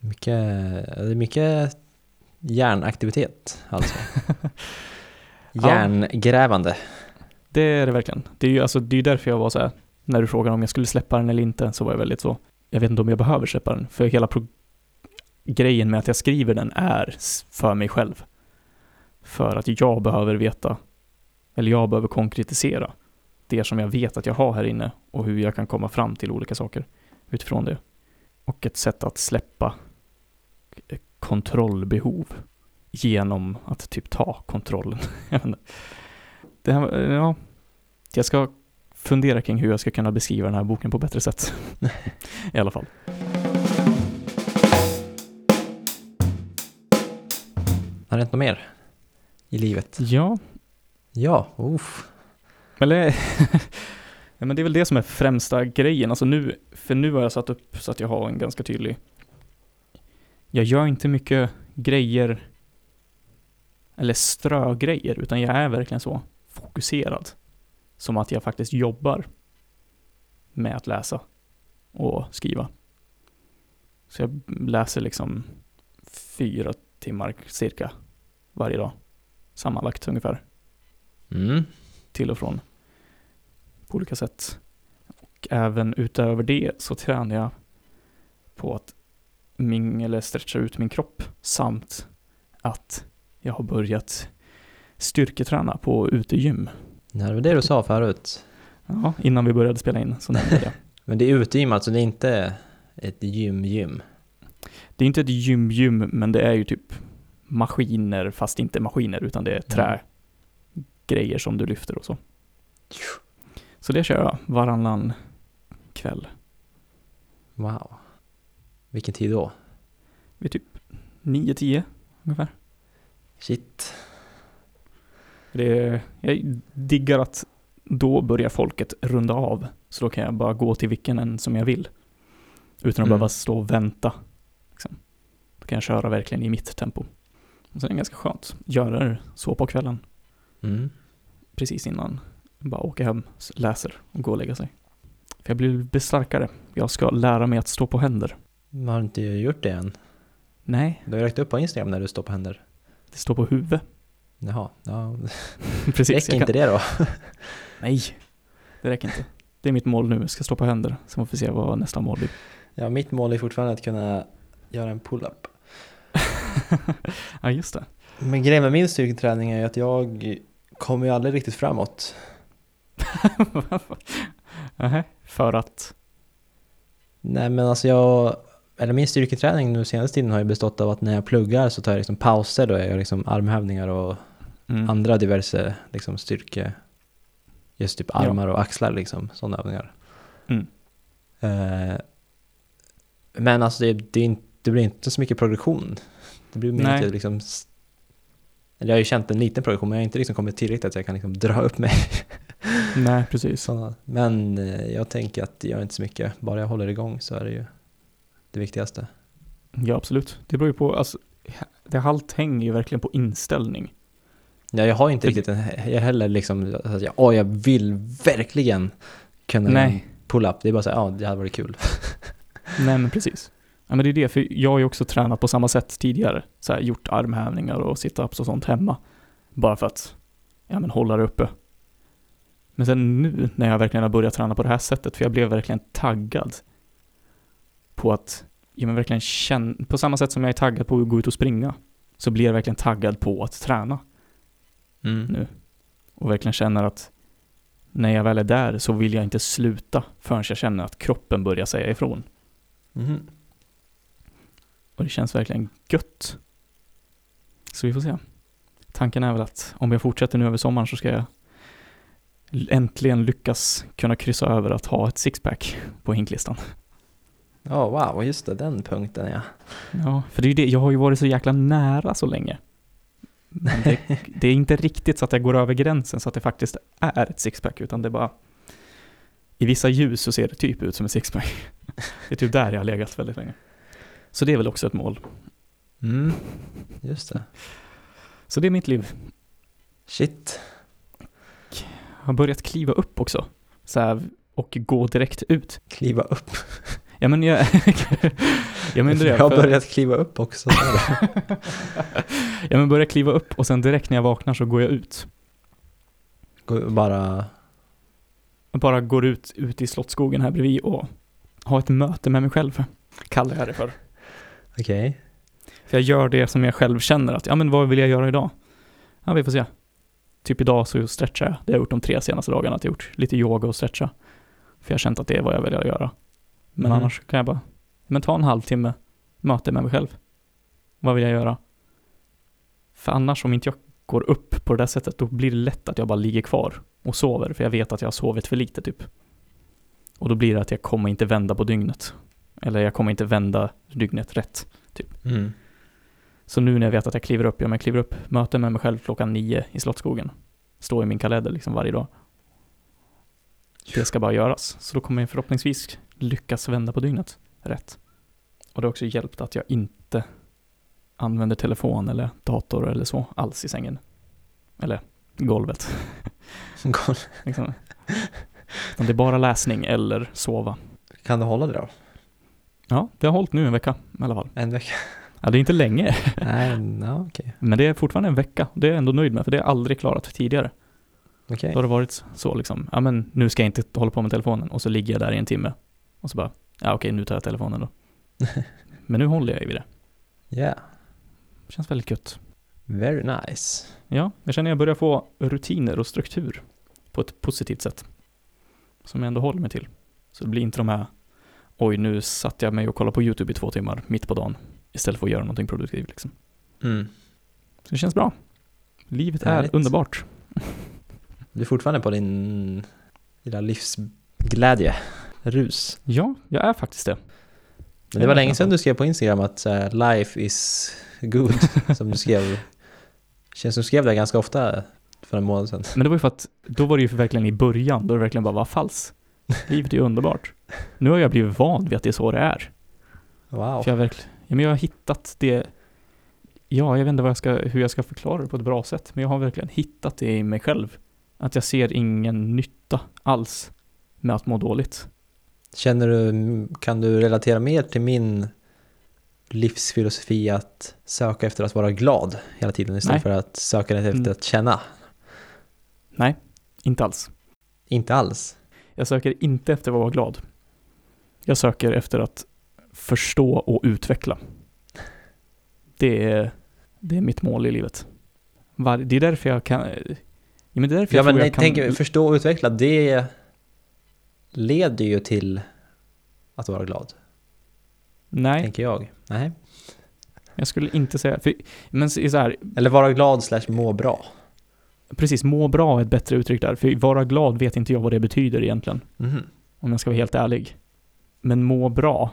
Speaker 2: Mycket, eh, det är mycket hjärnaktivitet alltså.
Speaker 1: Ja.
Speaker 2: Hjärngrävande.
Speaker 1: Det är det verkligen. Det är ju alltså, det är ju därför jag var så här, när du frågade om jag skulle släppa den eller inte, så var jag väldigt så, jag vet inte om jag behöver släppa den, för hela pro- grejen med att jag skriver den är s- för mig själv. För att jag behöver veta, eller jag behöver konkretisera det som jag vet att jag har här inne och hur jag kan komma fram till olika saker utifrån det. Och ett sätt att släppa k- kontrollbehov genom att typ ta kontrollen. Jag vet inte. det här, ja, jag ska fundera kring hur jag ska kunna beskriva den här boken på bättre sätt. I alla fall.
Speaker 2: Har det hänt något mer i livet?
Speaker 1: Ja,
Speaker 2: Ja, uff.
Speaker 1: men det, ja, men det är väl det som är främsta grejen. Alltså nu, för nu har jag satt upp så att jag har en ganska tydlig... Jag gör inte mycket grejer eller strögrejer, utan jag är verkligen så fokuserad. Som att jag faktiskt jobbar med att läsa och skriva. Så jag läser liksom fyra timmar cirka varje dag. Sammanlagt ungefär
Speaker 2: Mm.
Speaker 1: till och från på olika sätt. Och även utöver det så tränar jag på att ming eller stretcha ut min kropp samt att jag har börjat styrketräna på utegym.
Speaker 2: Det här var det du sa förut.
Speaker 1: Ja, innan vi började spela in så nämnde jag det.
Speaker 2: Men det är utegym alltså, det är inte ett gym-gym.
Speaker 1: Det är inte ett gym-gym, men det är ju typ maskiner, fast inte maskiner, utan det är trägrejer som du lyfter och så. Så det kör jag varannan kväll
Speaker 2: Wow. Vilken tid då?
Speaker 1: vid typ 9-10 ungefär.
Speaker 2: Shit.
Speaker 1: Det, jag diggar att då börjar folket runda av, så då kan jag bara gå till vilken en som jag vill. Utan att
Speaker 2: Mm.
Speaker 1: behöva stå och vänta. Liksom. Då kan jag köra verkligen i mitt tempo. Och sen är det ganska skönt, göra det så på kvällen,
Speaker 2: Mm.
Speaker 1: precis innan. Bara åka hem, s- läser och gå och lägga sig. För jag blir blir starkare. Jag ska lära mig att stå på händer.
Speaker 2: Man har inte gjort det än.
Speaker 1: Nej,
Speaker 2: Du har ju lagt upp på Instagram när du står på händer.
Speaker 1: det står på huvudet.
Speaker 2: Jaha. Ja.
Speaker 1: Precis, jag
Speaker 2: Räcker
Speaker 1: kan-
Speaker 2: inte det då?
Speaker 1: Nej, det räcker inte. Det är mitt mål nu, jag ska stå på händer. Sen får vi se vad nästa mål blir.
Speaker 2: Ja, mitt mål är fortfarande att kunna göra en pull-up.
Speaker 1: Ja, just det.
Speaker 2: Men grejen med min styrketräning är ju att jag kommer ju aldrig riktigt framåt.
Speaker 1: Nähä, För att,
Speaker 2: Nej men alltså jag, eller min styrketräning nu senaste tiden har ju bestått av att när jag pluggar så tar jag liksom pauser då jag gör liksom armhävningar och
Speaker 1: mm,
Speaker 2: andra diverse liksom styrke, just typ armar och axlar liksom, sådana övningar.
Speaker 1: Mm.
Speaker 2: Eh, men alltså det, det, är inte, det blir inte så mycket progression. Det blir mer
Speaker 1: Nej.
Speaker 2: att jag liksom, s- eller jag har ju känt en liten progression men jag har inte liksom kommit tillräckligt att jag kan liksom dra upp mig
Speaker 1: nej precis.
Speaker 2: Såna. Men eh, jag tänker att det gör inte så mycket, bara jag håller igång så är det ju det viktigaste.
Speaker 1: Ja, absolut. Det beror ju på, alltså, det allt hänger ju verkligen på inställning.
Speaker 2: Ja, jag har inte
Speaker 1: Fick-
Speaker 2: riktigt en, jag heller liksom, att jag, åh jag vill verkligen kunna
Speaker 1: Nej.
Speaker 2: pull-up. Det är bara så här, ja det hade varit kul.
Speaker 1: Nej, men precis. Ja, men det är det, för jag har ju också tränat på samma sätt tidigare. Så här, gjort armhävningar och situps och sånt hemma. Bara för att, ja men hålla det uppe. Men sen nu när jag verkligen har börjat träna på det här sättet, för jag blev verkligen taggad på att, ja men verkligen känna, på samma sätt som jag är taggad på att gå ut och springa, så blir jag verkligen taggad på att träna. Mm, Nu. och verkligen känner att när jag väl är där så vill jag inte sluta förrän jag känner att kroppen börjar säga ifrån.
Speaker 2: Mhm.
Speaker 1: Och det känns verkligen gött. Så vi får se. Tanken är väl att om jag fortsätter nu över sommaren så ska jag äntligen lyckas kunna kryssa över att ha ett sixpack på hinklistan.
Speaker 2: Ja, wow, just det, den punkten ja.
Speaker 1: Ja, för det är ju det, jag har ju varit så jäkla nära så länge. Men det, det är inte riktigt så att jag går över gränsen så att det faktiskt är ett sixpack, utan det är bara... I vissa ljus så ser det typ ut som ett sixpack. Det är typ där jag har legat väldigt länge. Så det är väl också ett mål.
Speaker 2: Mm. Just det.
Speaker 1: Så det är mitt liv.
Speaker 2: Shit.
Speaker 1: Jag har börjat kliva upp också. Så här, och gå direkt ut.
Speaker 2: Kliva upp.
Speaker 1: Ja men jag... jag menar det.
Speaker 2: jag har
Speaker 1: för-
Speaker 2: börjat kliva upp också.
Speaker 1: Ja men börja kliva upp och sen direkt när jag vaknar så går jag ut.
Speaker 2: Gå- bara,
Speaker 1: bara går ut, ut i Slottsskogen här bredvid och har ett möte med mig själv, kallar jag det för.
Speaker 2: okej.
Speaker 1: För jag gör det som jag själv känner att, ja men vad vill jag göra idag? Ja, vi får se. Typ idag så stretchar jag, det har jag gjort de tre senaste dagarna, att jag gjort lite yoga och stretcha. För jag har känt att det är vad jag vill göra. Men
Speaker 2: Mhm.
Speaker 1: annars kan jag bara, men ta en halvtimme, möte med mig själv. Vad vill jag göra? För annars om inte jag går upp på det där sättet, då blir det lätt att jag bara ligger kvar och sover, för jag vet att jag har sovit för lite typ. Och då blir det att jag kommer inte vända på dygnet. Eller jag kommer inte vända dygnet rätt.
Speaker 2: Mm.
Speaker 1: Så nu när jag vet att jag kliver upp, ja men jag kliver upp, möte med mig själv klockan nio i Slottsskogen. Står i min kalender liksom varje dag. Det ska bara göras. Så då kommer jag förhoppningsvis lyckas vända på dygnet rätt. Och det har också hjälpt att jag inte använder telefon eller dator eller så alls i sängen. Eller golvet.
Speaker 2: Gå-
Speaker 1: Liksom. Utan det är bara läsning eller sova.
Speaker 2: Kan du hålla det då?
Speaker 1: Ja, det har hållit nu en vecka i alla fall.
Speaker 2: En vecka?
Speaker 1: Ja, det är inte länge,
Speaker 2: Nej, ja, okej.
Speaker 1: men det är fortfarande en vecka. Det är jag ändå nöjd med, för det har jag aldrig klarat tidigare.
Speaker 2: Okej.
Speaker 1: Då har det varit så liksom, ja men nu ska jag inte hålla på med telefonen och så ligger jag där i en timme och så bara, ja okej nu tar jag telefonen då. men nu håller jag ju vid det.
Speaker 2: Yeah.
Speaker 1: Det känns väldigt gött.
Speaker 2: Very nice.
Speaker 1: Ja, jag känner jag börjar få rutiner och struktur på ett positivt sätt. Som jag ändå håller mig till. Så det blir inte de här, oj nu satt jag mig och kollade på YouTube i två timmar mitt på dagen istället för att göra någonting produktivt liksom. Så det känns bra. Livet är
Speaker 2: Härligt.
Speaker 1: underbart.
Speaker 2: Du är fortfarande på din lilla livsglädje, rus.
Speaker 1: Ja, jag är faktiskt det.
Speaker 2: Men det var länge sedan du skrev på Instagram att så här, life is good, som du skrev. Känns som du skrev det ganska ofta för en månad sedan.
Speaker 1: Men det var ju för att, då var det ju verkligen i början, då det verkligen bara var falskt. Livet är ju underbart. Nu har jag blivit van vid att det är så det är.
Speaker 2: Wow.
Speaker 1: För jag, verkl- ja, men jag har hittat det, ja, jag vet inte vad jag ska, hur jag ska förklara det på ett bra sätt, men jag har verkligen hittat det i mig själv. Att jag ser ingen nytta alls med att må dåligt.
Speaker 2: Känner du, kan du relatera mer till min livsfilosofi att söka efter att vara glad hela tiden istället
Speaker 1: Nej.
Speaker 2: för att söka efter
Speaker 1: Mm.
Speaker 2: att känna?
Speaker 1: Inte alls.
Speaker 2: Inte alls.
Speaker 1: Jag söker inte efter att vara glad. Jag söker efter att förstå och utveckla. Det är, det är mitt mål i livet. Var, det är därför jag kan... Ja, men det är därför
Speaker 2: Ja
Speaker 1: jag
Speaker 2: men
Speaker 1: tror
Speaker 2: jag
Speaker 1: jag kan...
Speaker 2: tänker, förstå och utveckla, det leder ju till att vara glad,
Speaker 1: nej,
Speaker 2: tänker jag. Nej.
Speaker 1: jag skulle inte säga... För, men så är så här,
Speaker 2: Eller vara glad slash må bra.
Speaker 1: precis, må bra är ett bättre uttryck där. För vara glad vet inte jag vad det betyder egentligen,
Speaker 2: Mhm.
Speaker 1: om jag ska vara helt ärlig. Men må bra.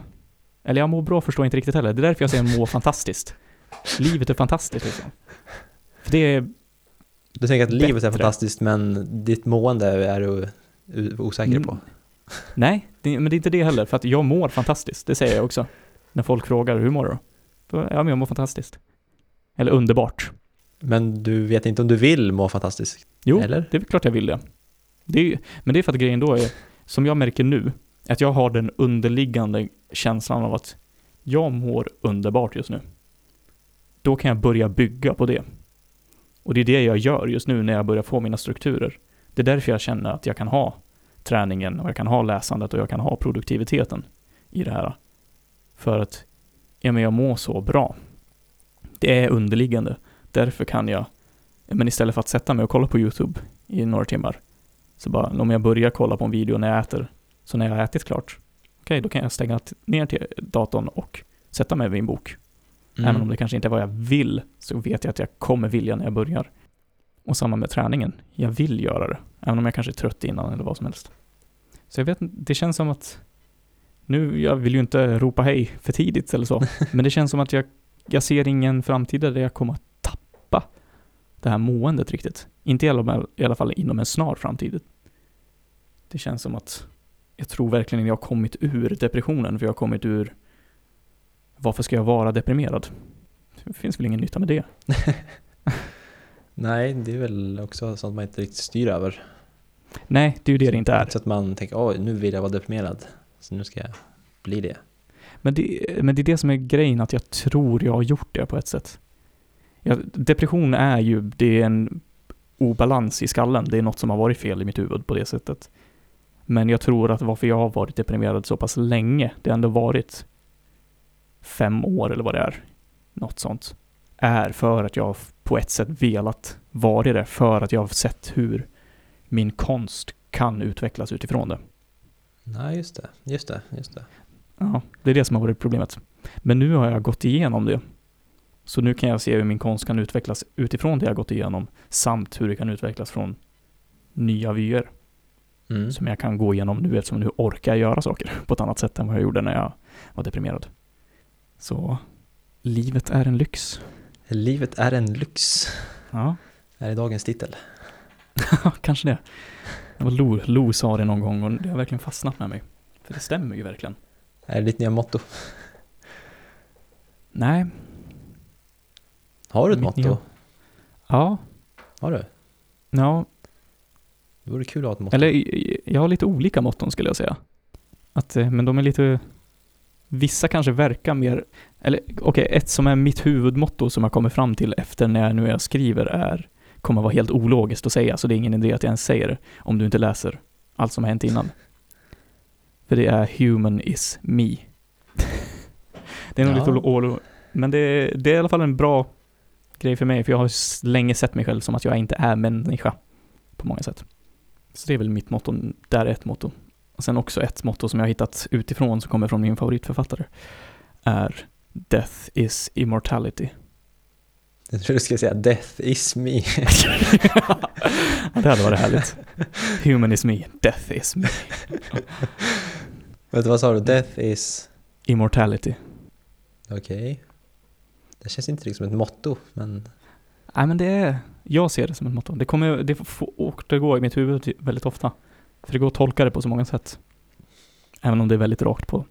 Speaker 1: Eller jag må bra förstår jag inte riktigt heller. Det är därför jag säger må fantastiskt. Livet är fantastiskt liksom. För det är
Speaker 2: Du tänker att livet är
Speaker 1: Bättre.
Speaker 2: fantastiskt men ditt mående är du u- osäker på?
Speaker 1: Mm. Nej, det, men det är inte det heller, för att jag mår fantastiskt, det säger jag också. När folk frågar, hur mår du då? Då, Ja, men jag mår fantastiskt. Eller underbart.
Speaker 2: Men du vet inte om du vill må fantastiskt?
Speaker 1: Jo,
Speaker 2: Eller?
Speaker 1: det är väl klart jag vill det. det är, ju- men det är för att grejen då är, som jag märker nu, att jag har den underliggande känslan av att jag mår underbart just nu. Då kan jag börja bygga på det. Och det är det jag gör just nu när jag börjar få mina strukturer. Det är därför jag känner att jag kan ha träningen och jag kan ha läsandet och jag kan ha produktiviteten i det här. För att ja, men jag mår så bra. Det är underliggande. Därför kan jag, ja, men istället för att sätta mig och kolla på YouTube i några timmar, så bara om jag börjar kolla på en video när jag äter, så när jag har ätit klart, okej, då kan jag stänga t- ner till datorn och sätta mig vid en bok. Även
Speaker 2: Mm.
Speaker 1: om det kanske inte är vad jag vill, så vet jag att jag kommer vilja när jag börjar. Och samma med träningen. Jag vill göra det, även om jag kanske är trött innan eller vad som helst. Så jag vet inte, det känns som att... Nu, jag vill ju inte ropa hej för tidigt eller så, men det känns som att jag, jag ser ingen framtid där jag kommer att tappa det här måendet riktigt. Inte i alla, i alla fall inom en snar framtid. Det känns som att jag tror verkligen jag har kommit ur depressionen, för jag har kommit ur varför ska jag vara deprimerad? Det finns väl ingen nytta med det.
Speaker 2: Nej, det är väl också sånt man inte riktigt styr över.
Speaker 1: Nej, det är ju det det inte är.
Speaker 2: Så att man tänker, oj, nu vill jag vara deprimerad. Så nu ska jag bli det.
Speaker 1: Men det, men det är det som är grejen, att jag tror jag har gjort det på ett sätt. Ja, depression är ju, det är en obalans i skallen, det är något som har varit fel i mitt huvud på det sättet. Men jag tror att varför jag har varit deprimerad så pass länge, det har ändå varit fem år eller vad det är, något sånt, är för att jag på ett sätt velat vara i det, för att jag har sett hur min konst kan utvecklas utifrån det.
Speaker 2: Nej, just det. Just det. Just det.
Speaker 1: Ja, det är det som har varit problemet. Men nu har jag gått igenom det. Så nu kan jag se hur min konst kan utvecklas utifrån det jag gått igenom, samt hur det kan utvecklas från nya vyer
Speaker 2: Mm.
Speaker 1: som jag kan gå igenom nu eftersom nu orkar jag göra saker på ett annat sätt än vad jag gjorde när jag var deprimerad. Så livet är en lyx.
Speaker 2: Livet är en lyx,
Speaker 1: Ja,
Speaker 2: är dagens titel.
Speaker 1: kanske det. Det var Lo, Lo sa det någon gång och det har verkligen fastnat med mig. För det stämmer ju verkligen.
Speaker 2: Är det ditt nya motto?
Speaker 1: Nej,
Speaker 2: Har du ett
Speaker 1: Mitt
Speaker 2: motto?
Speaker 1: nya- ja,
Speaker 2: Har du?
Speaker 1: ja,
Speaker 2: Det vore kul att ha ett motto.
Speaker 1: Eller i- jag har lite olika motton skulle jag säga. Att, eh, men de är lite, vissa kanske verkar mer, eller okej, ett som är mitt huvudmotto som jag kommer fram till efter när jag nu jag skriver är, kommer vara helt ologiskt att säga, så det är ingen idé att jag ens säger det om du inte läser allt som har hänt innan. För det är human is me. det är nog
Speaker 2: Ja.
Speaker 1: lite olo- olo- men det, det är i alla fall en bra grej för mig, för jag har s- länge sett mig själv som att jag inte är människa på många sätt. Så det är väl mitt motto, där är ett motto. Och sen också ett motto som jag har hittat utifrån som kommer från min favoritförfattare är Death is immortality.
Speaker 2: Jag tror du skulle säga Death is me.
Speaker 1: Ja, det hade varit härligt. Human is me, death is me.
Speaker 2: Vet du vad sa du? Death is...
Speaker 1: Immortality.
Speaker 2: Okej. Det känns inte riktigt som ett motto, men
Speaker 1: Nej men det är, jag ser det som ett motto. Det kommer, det får återgå i mitt huvud väldigt ofta. För det går att tolka det på så många sätt. Även om det är väldigt rakt på.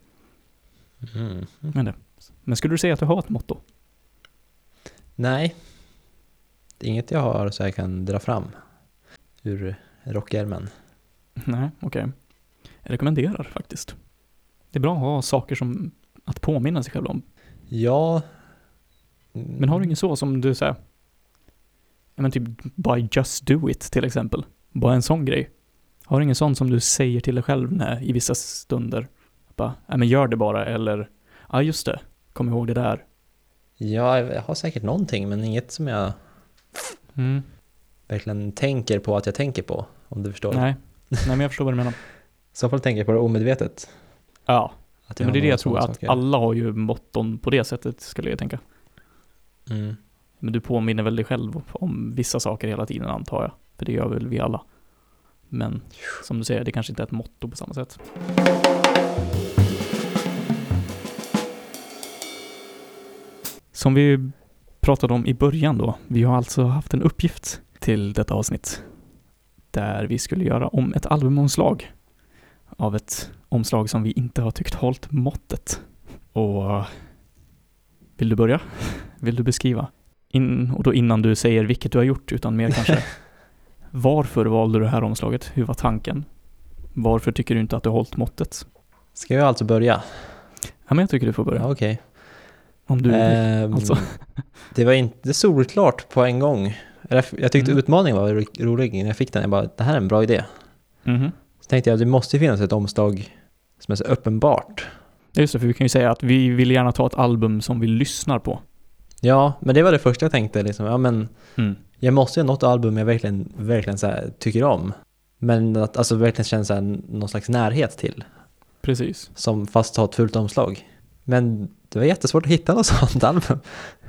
Speaker 1: Men skulle du säga att du har ett motto?
Speaker 2: nej. Det är inget jag har så jag kan dra fram ur rockärmen.
Speaker 1: Nej, okej. Jag rekommenderar faktiskt. Det är bra att ha saker som att påminna sig själv om.
Speaker 2: Ja.
Speaker 1: Men
Speaker 2: Mm.
Speaker 1: har du ingen så som du säger? Ja men typ by just do it till exempel. Bara en sån grej. Har du ingen sån som du säger till dig själv när, i vissa stunder? Bara, ja men gör det bara eller, ja just det, kom ihåg det där.
Speaker 2: Ja, jag har säkert någonting, men inget som jag
Speaker 1: Mm.
Speaker 2: verkligen tänker på att jag tänker på, om du förstår.
Speaker 1: Nej. Nej, men jag förstår vad du menar.
Speaker 2: I så fall tänker jag på det omedvetet.
Speaker 1: Ja,
Speaker 2: Att
Speaker 1: men
Speaker 2: har
Speaker 1: det är det
Speaker 2: några
Speaker 1: jag tror,
Speaker 2: sådana
Speaker 1: att
Speaker 2: saker.
Speaker 1: alla har ju motton på det sättet skulle jag tänka.
Speaker 2: Mm.
Speaker 1: Men du påminner väl dig själv om vissa saker hela tiden antar jag, för det gör väl vi alla. Men som du säger, det kanske inte är ett motto på samma sätt. Som vi pratade om i början då, vi har alltså haft en uppgift till detta avsnitt där vi skulle göra om ett albumomslag av ett omslag som vi inte har tyckt hållit måttet. Och vill du börja? Vill du beskriva? In, och då innan du säger vilket du har gjort, utan mer kanske varför valde du det här omslaget? Hur var tanken? Varför tycker du inte att du har hållit måttet?
Speaker 2: Ska jag alltså börja?
Speaker 1: Ja, men jag tycker du får börja.
Speaker 2: Ja, Okej.
Speaker 1: Om du vill.
Speaker 2: Ehm,
Speaker 1: alltså.
Speaker 2: Det var inte solklart på en gång. Eller Jag jag tyckte
Speaker 1: Mm.
Speaker 2: utmaningen var ro- rolig när jag fick den. Jag bara, det här är en bra idé.
Speaker 1: Mhm.
Speaker 2: Så tänkte jag att det måste ju finnas ett omslag som är så uppenbart.
Speaker 1: Ja, just det, för vi kan ju säga att vi vill gärna ta ett album som vi lyssnar på.
Speaker 2: Ja, men det var det första jag tänkte. Liksom. Ja, men jag måste ju ha något album jag verkligen, verkligen så här, tycker om. Men att alltså, verkligen känna så här, någon slags närhet till.
Speaker 1: Precis.
Speaker 2: Som fast har ett fult omslag. Men det var jättesvårt att hitta något sånt album.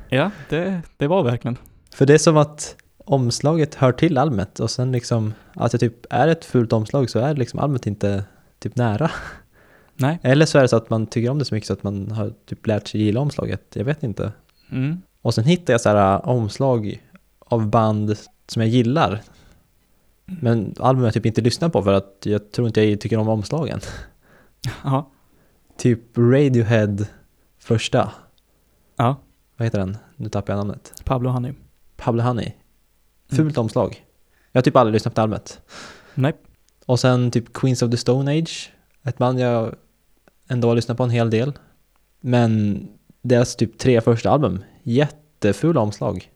Speaker 1: Ja, det, det var verkligen.
Speaker 2: För det är som att omslaget hör till albumet och sen liksom att det typ är ett fult omslag så är liksom albumet inte typ nära.
Speaker 1: Nej.
Speaker 2: Eller så är det så att man tycker om det så mycket så att man har typ lärt sig gilla omslaget. Jag vet inte.
Speaker 1: Mm.
Speaker 2: Och sen hittar jag så här äh, omslag av band som jag gillar. Men album jag typ inte lyssnar på för att jag tror inte jag tycker om omslagen.
Speaker 1: Ja.
Speaker 2: Typ Radiohead första.
Speaker 1: ja.
Speaker 2: Vad heter den? Nu tappar jag namnet.
Speaker 1: Pablo Honey.
Speaker 2: Pablo Honey. Fult omslag. Jag har typ aldrig lyssnat på albumet.
Speaker 1: Nej.
Speaker 2: Och sen typ Queens of the Stone Age. Ett band jag ändå har lyssnat på en hel del. Men deras typ tre första album. Jättefula omslag.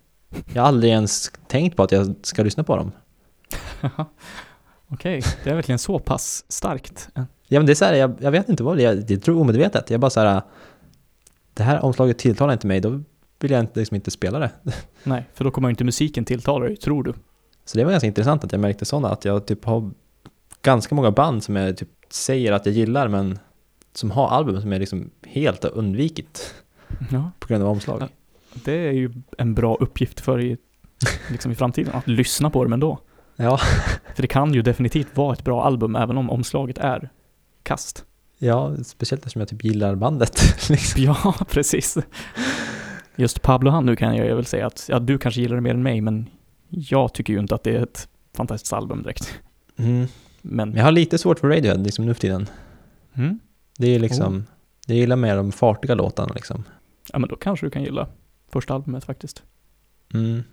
Speaker 2: Jag har aldrig ens tänkt på att jag ska lyssna på dem.
Speaker 1: Okej, det är verkligen så pass starkt.
Speaker 2: Ja men det är så här, jag, jag vet inte vad det är. Jag tror omedvetet. Jag bara så här. "Ah, Det här omslaget tilltalar inte mig. Då vill jag inte, liksom inte spela det.
Speaker 1: Nej, för då kommer ju inte musiken tilltala dig, tror du.
Speaker 2: Så det var ganska intressant att jag märkte sådana, att jag typ har ganska många band som jag typ säger att jag gillar men som har album som jag liksom helt har undvikit
Speaker 1: Ja.
Speaker 2: på grund av omslag.
Speaker 1: Ja. Det är ju en bra uppgift för i, liksom i framtiden, att lyssna på dem ändå.
Speaker 2: Ja.
Speaker 1: För det kan ju definitivt vara ett bra album även om omslaget är kast.
Speaker 2: Ja, speciellt eftersom jag typ gillar bandet. liksom.
Speaker 1: Ja, precis. Just Pablo han nu kan jag väl säga att, ja du kanske gillar det mer än mig, men jag tycker ju inte att det är ett fantastiskt album direkt.
Speaker 2: mm. Men
Speaker 1: Men,
Speaker 2: jag har lite svårt för Radiohead liksom nu för tiden.
Speaker 1: mm,
Speaker 2: Det är liksom, jag gillar mer de fartiga låtarna liksom.
Speaker 1: ja men då kanske du kan gilla första albumet faktiskt.
Speaker 2: Mm.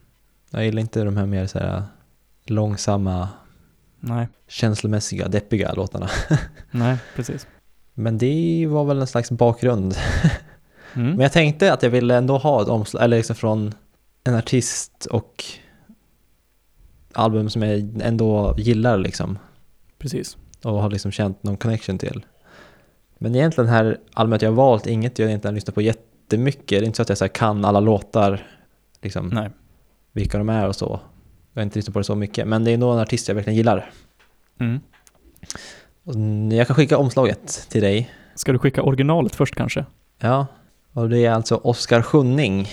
Speaker 2: Jag gillar inte de här mer så här långsamma,
Speaker 1: Nej,
Speaker 2: känslomässiga, deppiga låtarna.
Speaker 1: nej, precis.
Speaker 2: Men det var väl en slags bakgrund
Speaker 1: Mm.
Speaker 2: Men jag tänkte att jag ville ändå ha ett omslag, eller liksom från en artist och album som jag ändå gillar liksom.
Speaker 1: Precis.
Speaker 2: Och har liksom känt någon connection till. Men egentligen det här albumet jag har valt, inget jag egentligen har lyssnat på jättemycket. Det är inte så att jag så här kan alla låtar, liksom
Speaker 1: Nej,
Speaker 2: vilka de är och så. Jag har inte lyssnat på det så mycket, men det är nog en artist jag verkligen gillar.
Speaker 1: mm.
Speaker 2: Och Jag kan skicka omslaget till dig.
Speaker 1: Ska du skicka originalet först kanske?
Speaker 2: Ja, och det är alltså Oskar Sjunning,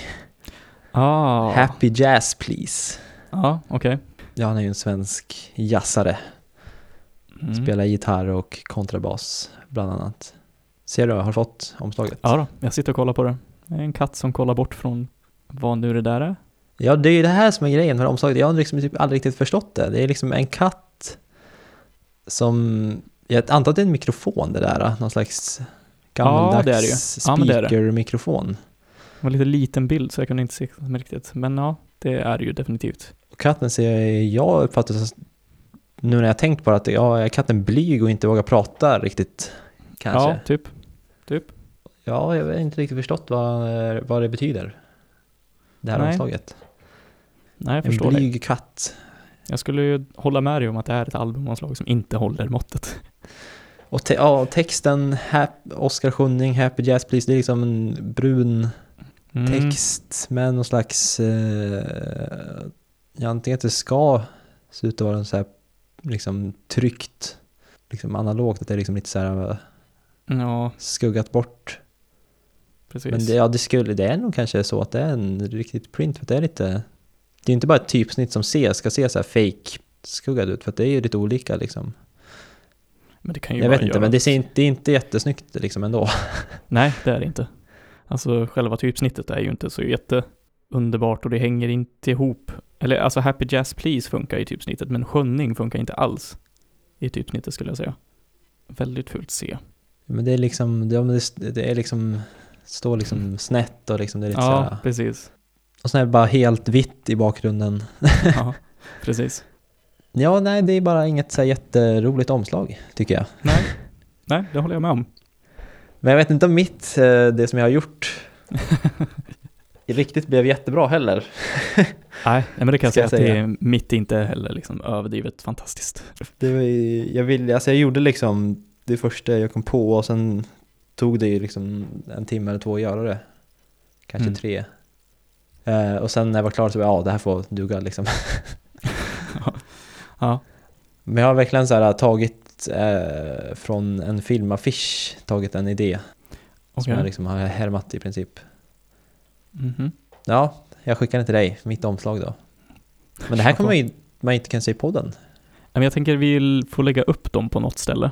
Speaker 1: Ah,
Speaker 2: Happy Jazz Please.
Speaker 1: ja, okej.
Speaker 2: Ja, han är ju en svensk jazzare.
Speaker 1: Mm.
Speaker 2: Spelar gitarr och kontrabas bland annat. Ser du, har du fått omslaget?
Speaker 1: Ja då, jag sitter och kollar på det. Det är en katt som kollar bort från vad nu det där är.
Speaker 2: Ja, det är ju det här som är grejen med omslaget. Jag har liksom typ aldrig riktigt förstått det. Det är liksom en katt som... Jag antar att det är en mikrofon det där. Någon slags gammaldags
Speaker 1: det är det ju. Ja, men det är det.
Speaker 2: speaker-mikrofon.
Speaker 1: Det var en lite liten bild så jag kunde inte se den riktigt. Men ja, det är det ju definitivt.
Speaker 2: Och katten ser jag uppfattar som... Nu när jag tänkt på det, att ja, är katten blyg och inte vågar prata riktigt? Kanske.
Speaker 1: Ja, typ. Typ.
Speaker 2: Ja, jag har inte riktigt förstått vad, vad det betyder. Det här
Speaker 1: Nej,
Speaker 2: omslaget.
Speaker 1: Nej, jag
Speaker 2: En
Speaker 1: förstår dig.
Speaker 2: blyg katt.
Speaker 1: Jag skulle ju hålla med dig om att det här är ett albumomslag som inte håller måttet.
Speaker 2: Och te- ja, och texten, hap- Oscar Schunning, Happy Jazz Please, det är liksom en brun
Speaker 1: Mm.
Speaker 2: text med någon slags... Eh, ja, antingen att det ska se ut att vara en så här, liksom tryckt, liksom analogt, att det är liksom lite så här eh,
Speaker 1: Ja,
Speaker 2: skuggat bort.
Speaker 1: precis.
Speaker 2: Men det, ja, det, skulle, det är nog kanske så att det är en riktigt print, för att det är lite... Det är inte bara ett typsnitt som ses, ska se så här fake skuggad ut, för att det är ju lite olika liksom.
Speaker 1: Men det kan ju
Speaker 2: Jag
Speaker 1: bara
Speaker 2: vet inte,
Speaker 1: göra-
Speaker 2: men det, ser inte, det är inte jättesnyggt liksom ändå.
Speaker 1: Nej, det är det inte. Alltså själva typsnittet är ju inte så jätteunderbart och det hänger inte ihop. Eller alltså Happy Jazz Please funkar i typsnittet, men Skönning funkar inte alls i typsnittet skulle jag säga. Väldigt fult C.
Speaker 2: Men det är liksom, det, ja, men det, det är liksom, står liksom snett och liksom det är lite så
Speaker 1: Mm. Ja,
Speaker 2: här,
Speaker 1: precis.
Speaker 2: Och sen är det bara helt vitt i bakgrunden.
Speaker 1: Ja, precis.
Speaker 2: Ja, nej, det är bara inget så här jätteroligt omslag, tycker jag.
Speaker 1: Nej. Nej, det håller jag med om.
Speaker 2: Men jag vet inte om mitt, eh, det som jag har gjort, riktigt blev jättebra heller.
Speaker 1: Nej, nej, men det kan jag
Speaker 2: Ska
Speaker 1: säga,
Speaker 2: jag
Speaker 1: att det är mitt inte heller liksom överdrivet fantastiskt.
Speaker 2: Det var, ju- jag, ville, alltså jag gjorde liksom det första jag kom på och sen tog det ju liksom en timme eller två att göra det. Kanske
Speaker 1: Mm.
Speaker 2: tre. Eh, och sen när jag var klar så var jag, ja det här får duga liksom.
Speaker 1: Ja,
Speaker 2: Men jag har verkligen så här tagit eh, från en filmaffisch, tagit en idé som
Speaker 1: okej.
Speaker 2: jag liksom har härmat i princip.
Speaker 1: Mhm.
Speaker 2: Ja, jag skickar den till dig, mitt omslag då. Men det här kommer man ju, man inte kan se i podden.
Speaker 1: Ja, Men jag tänker vi l- får lägga upp dem på något ställe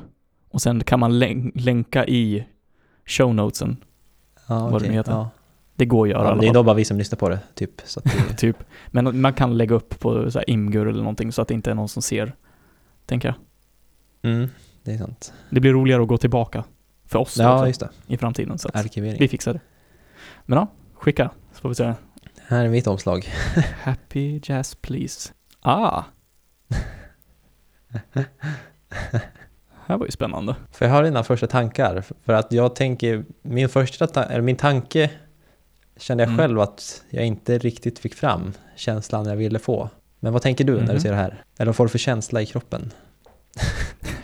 Speaker 1: och sen kan man län- länka i show notesen.
Speaker 2: Ja,
Speaker 1: Vad
Speaker 2: okej,
Speaker 1: det nu heter.
Speaker 2: Ja.
Speaker 1: Det går att göra i
Speaker 2: Ja,
Speaker 1: alla
Speaker 2: det är
Speaker 1: fall.
Speaker 2: då bara vi som lyssnar på det, typ. Så att det,
Speaker 1: Typ. Men man kan lägga upp på så här Imgur eller någonting så att det inte är någon som ser, tänker jag.
Speaker 2: mm, det är sant.
Speaker 1: Det blir roligare att gå tillbaka för oss
Speaker 2: Ja,
Speaker 1: också
Speaker 2: just det.
Speaker 1: i framtiden. Så att vi
Speaker 2: Arkivering.
Speaker 1: fixar det. Men ja, skicka så får vi se.
Speaker 2: Här är mitt omslag.
Speaker 1: Happy Jazz Please. Ah! här var ju spännande.
Speaker 2: För jag har dina första tankar. För att jag tänker, min första ta- eller min tanke kände jag
Speaker 1: Mm.
Speaker 2: själv att jag inte riktigt fick fram känslan jag ville få. Men vad tänker du när
Speaker 1: Mhm.
Speaker 2: du ser det här? Eller vad får du för känsla i kroppen?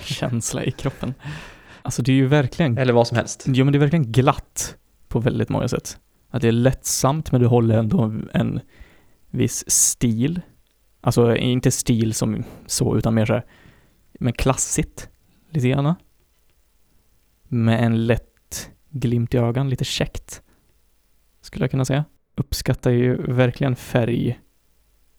Speaker 1: Känsla i kroppen. Alltså det är ju verkligen
Speaker 2: Eller vad som helst.
Speaker 1: Ja, men det är verkligen glatt på väldigt många sätt. Att det är lättsamt, men du håller ändå en viss stil. Alltså inte stil som så, utan mer så här, men klassigt, lite grann. Med en lätt glimt i ögat, lite käckt, skulle jag kunna säga. Uppskattar ju verkligen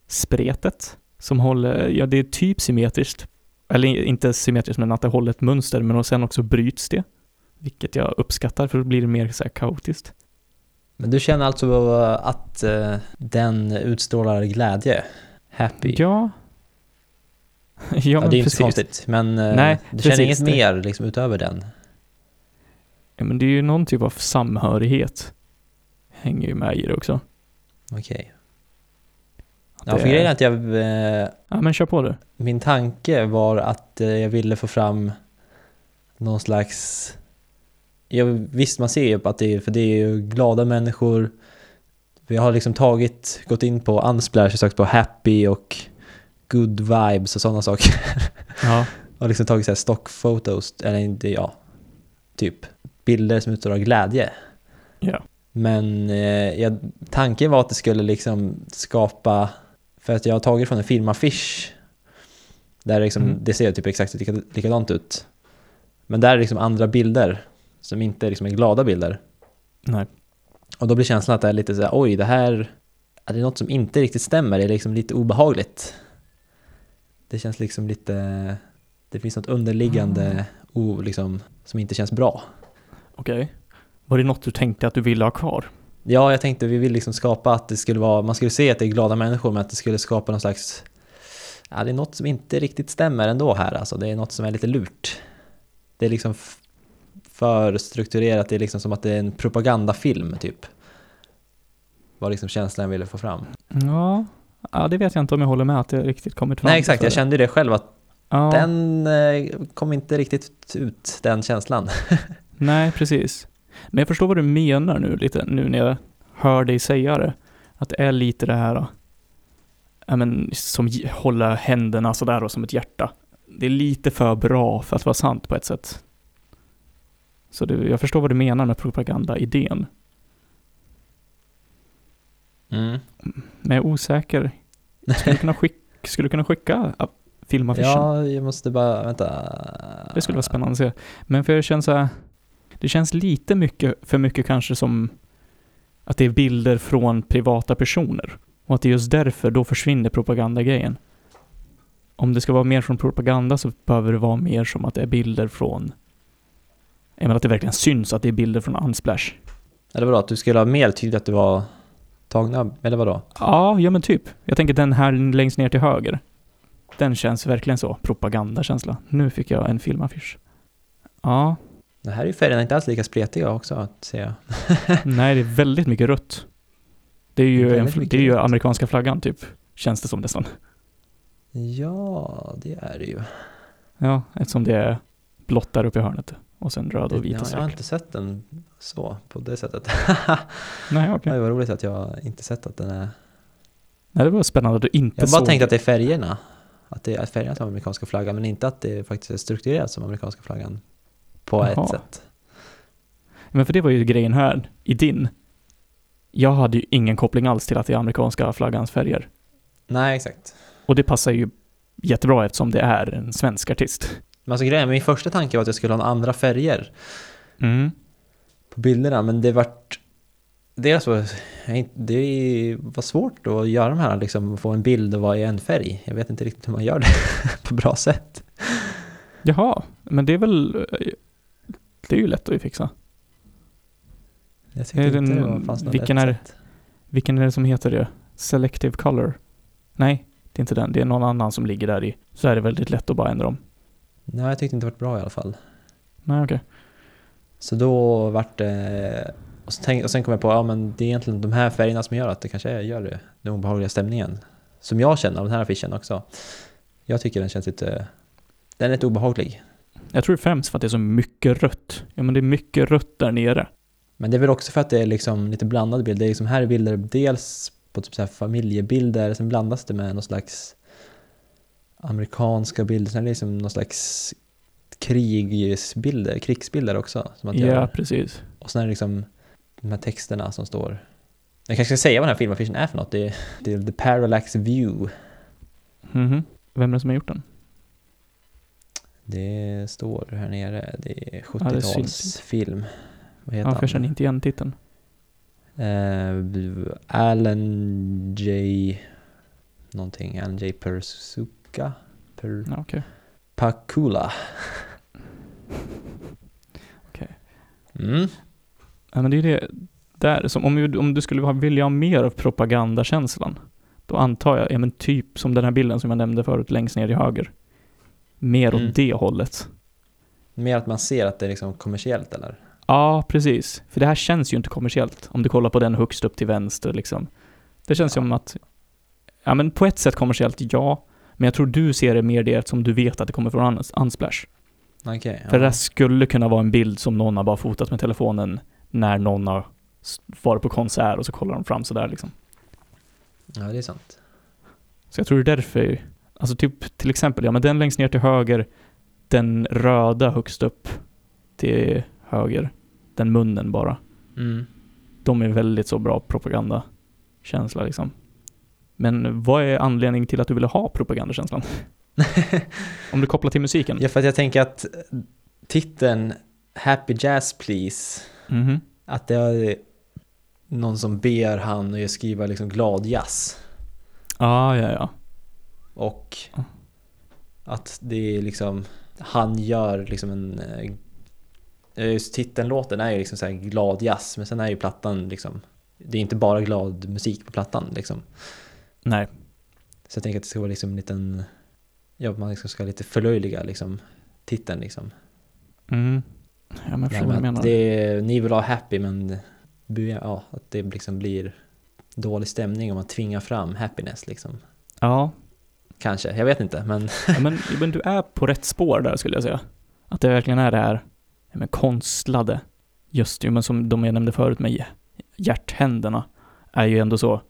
Speaker 1: färgspretet som håller, ja det är typ symmetriskt, eller inte symmetriskt men att det håller ett mönster, men och sen också bryts det. Vilket jag uppskattar för då blir det mer så här kaotiskt.
Speaker 2: Men du känner alltså att eh, den utstrålar glädje? Happy?
Speaker 1: Ja. ja,
Speaker 2: Ja,
Speaker 1: men
Speaker 2: det är ju inte
Speaker 1: precis.
Speaker 2: så konstigt. Men eh,
Speaker 1: Nej,
Speaker 2: du
Speaker 1: precis,
Speaker 2: känner inget
Speaker 1: det-
Speaker 2: mer liksom, utöver den?
Speaker 1: Ja, men det är ju någon typ av samhörighet. Hänger ju med i det också.
Speaker 2: Okej.
Speaker 1: Det
Speaker 2: Ja, för grejen
Speaker 1: är-
Speaker 2: är att jag... Eh,
Speaker 1: Ja, men kör på du.
Speaker 2: Min tanke var att eh, jag ville få fram någon slags... Jag, visst, man ser ju att det är, för det är ju glada människor. Vi har liksom tagit, gått in på Unsplash och sökt på happy och good vibes och sådana saker.
Speaker 1: Ja.
Speaker 2: Och liksom tagit så här stock photos, eller inte, ja, typ bilder som utstrålar glädje.
Speaker 1: Ja.
Speaker 2: Men eh, jag, tanken var att det skulle liksom skapa, för att jag har tagit från en filmaffisch där liksom,
Speaker 1: Mm.
Speaker 2: det ser typ exakt lika- likadant ut. Men där är liksom andra bilder som inte liksom är glada bilder.
Speaker 1: Nej.
Speaker 2: Och då blir känslan att det är lite så här, oj, det här är det något som inte riktigt stämmer, det är liksom lite obehagligt. Det känns liksom lite, det finns något underliggande
Speaker 1: Ah.
Speaker 2: o, liksom, som inte känns bra.
Speaker 1: Okej. Var det något du tänkte att du ville ha kvar?
Speaker 2: Ja, jag tänkte vi vill liksom skapa att det skulle vara, man skulle se att det är glada människor men att det skulle skapa någon slags, ja det är något som inte riktigt stämmer ändå här alltså, det är något som är lite lurt. Det är liksom f- för strukturerat, det är liksom som att det är en propagandafilm typ. Var liksom känslan jag ville få fram.
Speaker 1: Ja. ja, det vet jag inte om jag håller med att det riktigt kommit fram.
Speaker 2: Nej exakt,
Speaker 1: för
Speaker 2: jag
Speaker 1: det.
Speaker 2: kände ju det själv att
Speaker 1: ja.
Speaker 2: den eh, kom inte riktigt ut, den känslan.
Speaker 1: Nej, precis. Men jag förstår vad du menar nu lite, nu när jag hör dig säga det. Att det är lite det här, ja men som ge- hålla händerna sådär och som ett hjärta. Det är lite för bra för att vara sant på ett sätt. Så det, jag förstår vad du menar med propagandaidén. Mm. Men jag är osäker. Skulle du kunna skicka, skulle du kunna skicka ja, filmaffischen?
Speaker 2: Ja, jag måste bara, vänta.
Speaker 1: Det skulle vara spännande att se. Men för jag känner så här, det känns lite mycket, för mycket kanske som att det är bilder från privata personer. Och att det är just därför då försvinner propagandagrejen. Om det ska vara mer från propaganda så behöver det vara mer som att det är bilder från... Jag menar att det verkligen syns att det är bilder från Unsplash.
Speaker 2: Eller vadå, att du skulle ha mer tydligt att du var tagna, eller vadå?
Speaker 1: Ja, ja men typ. Jag tänker den här längst ner till höger. Den känns verkligen så, propagandakänsla. Nu fick jag en filmaffisch. Ja,
Speaker 2: Det här är ju färgerna inte alls lika spretiga också, att se.
Speaker 1: Nej, det är väldigt mycket rött. Det är ju, en,
Speaker 2: Väldigt
Speaker 1: fl-
Speaker 2: mycket
Speaker 1: det är ju
Speaker 2: rött.
Speaker 1: amerikanska flaggan typ, känns det som nästan.
Speaker 2: Ja, det är det ju.
Speaker 1: Ja, eftersom det är blått där uppe i hörnet och sen röd och
Speaker 2: Ja,
Speaker 1: vita
Speaker 2: jag har
Speaker 1: streck.
Speaker 2: inte sett den så, på det sättet.
Speaker 1: Nej, okej.
Speaker 2: Det var roligt att jag inte sett att den är...
Speaker 1: Nej, det var spännande att du inte
Speaker 2: Jag bara
Speaker 1: såg
Speaker 2: tänkte att det är färgerna. Att det är färgerna som är amerikanska flaggan, men inte att det faktiskt är strukturerat som amerikanska flaggan. På
Speaker 1: Jaha.
Speaker 2: ett sätt.
Speaker 1: Men för det var ju grejen här, i din. Jag hade ju ingen koppling alls till att det är amerikanska flaggans färger.
Speaker 2: Nej, exakt.
Speaker 1: Och det passar ju jättebra eftersom det är en svensk artist.
Speaker 2: Men alltså grejen, min första tanke var att jag skulle ha andra färger.
Speaker 1: Mm.
Speaker 2: på bilderna, men det vart... Dels var jag inte- det var svårt att göra de här, liksom få en bild och vara i en färg. Jag vet inte riktigt hur man gör det på bra sätt.
Speaker 1: Jaha, men det är väl... eh, Det är ju lätt att fixa.
Speaker 2: Jag
Speaker 1: Är
Speaker 2: tyckte inte
Speaker 1: den-
Speaker 2: det var- fanns något
Speaker 1: vilken
Speaker 2: lätt
Speaker 1: är-
Speaker 2: sätt.
Speaker 1: Vilken är det som heter det? Selective color? Nej, det är inte den. Det är någon annan som ligger där i. Så är det väldigt lätt att bara ändra dem.
Speaker 2: Nej, jag tyckte inte det vart bra i alla fall.
Speaker 1: Nej, okej.
Speaker 2: Så då vart det... Och, så tänk, och sen kom jag på, ja men det är egentligen de här färgerna som gör att det kanske är- gör det, den obehagliga stämningen. Som jag känner av den här affischen också. Jag tycker den känns lite... Den är lite obehaglig.
Speaker 1: Jag tror främst för att det är så mycket rött. Ja, men det är mycket rött där nere.
Speaker 2: Men det är väl också för att det är liksom lite blandade bilder. Det är liksom här är bilder dels på typ så här familjebilder, sen blandas det med någon slags amerikanska bilder, sen är det liksom någon slags krigsbilder, krigsbilder också. Som att
Speaker 1: Ja,
Speaker 2: gör.
Speaker 1: precis.
Speaker 2: Och sen är det liksom de här texterna som står. Jag kanske ska säga vad den här filmaffischen är för något. Det är, det är The Parallax View.
Speaker 1: Mhm. Vem är det som har gjort den?
Speaker 2: Det står här nere, det är
Speaker 1: det syns
Speaker 2: 70-talsfilm. Vad heter
Speaker 1: Ja, för jag känner
Speaker 2: han?
Speaker 1: inte igen titeln.
Speaker 2: Eh, Alan J... Någonting. Alan J. Persuka? Per,
Speaker 1: Ja, okej.
Speaker 2: Pakula.
Speaker 1: Okej.
Speaker 2: Mm.
Speaker 1: Ja, men det är det där. Som om, ju- om du skulle ha- vilja ha mer av propagandakänslan, då antar jag, ja men typ som den här bilden som jag nämnde förut längst ner i höger. Mer
Speaker 2: Mm.
Speaker 1: åt det hållet.
Speaker 2: Mer att man ser att det är liksom kommersiellt eller?
Speaker 1: Ja, precis. För det här känns ju inte kommersiellt. Om du kollar på den högst upp till vänster liksom. Det känns
Speaker 2: Ja.
Speaker 1: som att, ja men på ett sätt kommersiellt, ja. Men jag tror du ser det mer det eftersom du vet att det kommer från Uns- Unsplash.
Speaker 2: Okej.
Speaker 1: För det
Speaker 2: ja.
Speaker 1: där skulle kunna vara en bild som någon har bara fotat med telefonen när någon har s- varit på konsert och så kollar de fram sådär liksom.
Speaker 2: ja, det är sant.
Speaker 1: Så jag tror det är därför, alltså typ till exempel, ja men den längst ner till höger, den röda högst upp till höger, den munnen bara.
Speaker 2: Mm.
Speaker 1: de är väldigt så bra propagandakänsla liksom. Men vad är anledningen till att du ville ha propagandakänslan? Om du kopplar till musiken?
Speaker 2: Ja, för att jag tänker att titeln Happy Jazz Please,
Speaker 1: Mhm.
Speaker 2: att det är någon som ber han att skriva liksom glad jazz.
Speaker 1: Ah, ja, ja.
Speaker 2: Och Att det är liksom, han gör liksom en... eh, Just titellåten är ju liksom så här glad jazz, men sen är ju plattan liksom... Det är inte bara glad musik på plattan liksom.
Speaker 1: Nej,
Speaker 2: Så jag tänker att det ska vara liksom en liten... Ja, man liksom ska lite förlöjliga liksom titeln liksom.
Speaker 1: mm. Ja, men jag
Speaker 2: Det
Speaker 1: förstår
Speaker 2: här
Speaker 1: vad du
Speaker 2: med
Speaker 1: menar.
Speaker 2: att det är, ni vill ha happy men bu- ja, att det liksom blir dålig stämning om man tvingar fram happiness liksom.
Speaker 1: Ja,
Speaker 2: Kanske, jag vet inte men
Speaker 1: Ja, men, men du är på rätt spår där skulle jag säga. Att det verkligen är det här ja, men konstlade, just ju, men som de jag nämnde förut med hj- hjärthänderna, är ju ändå så.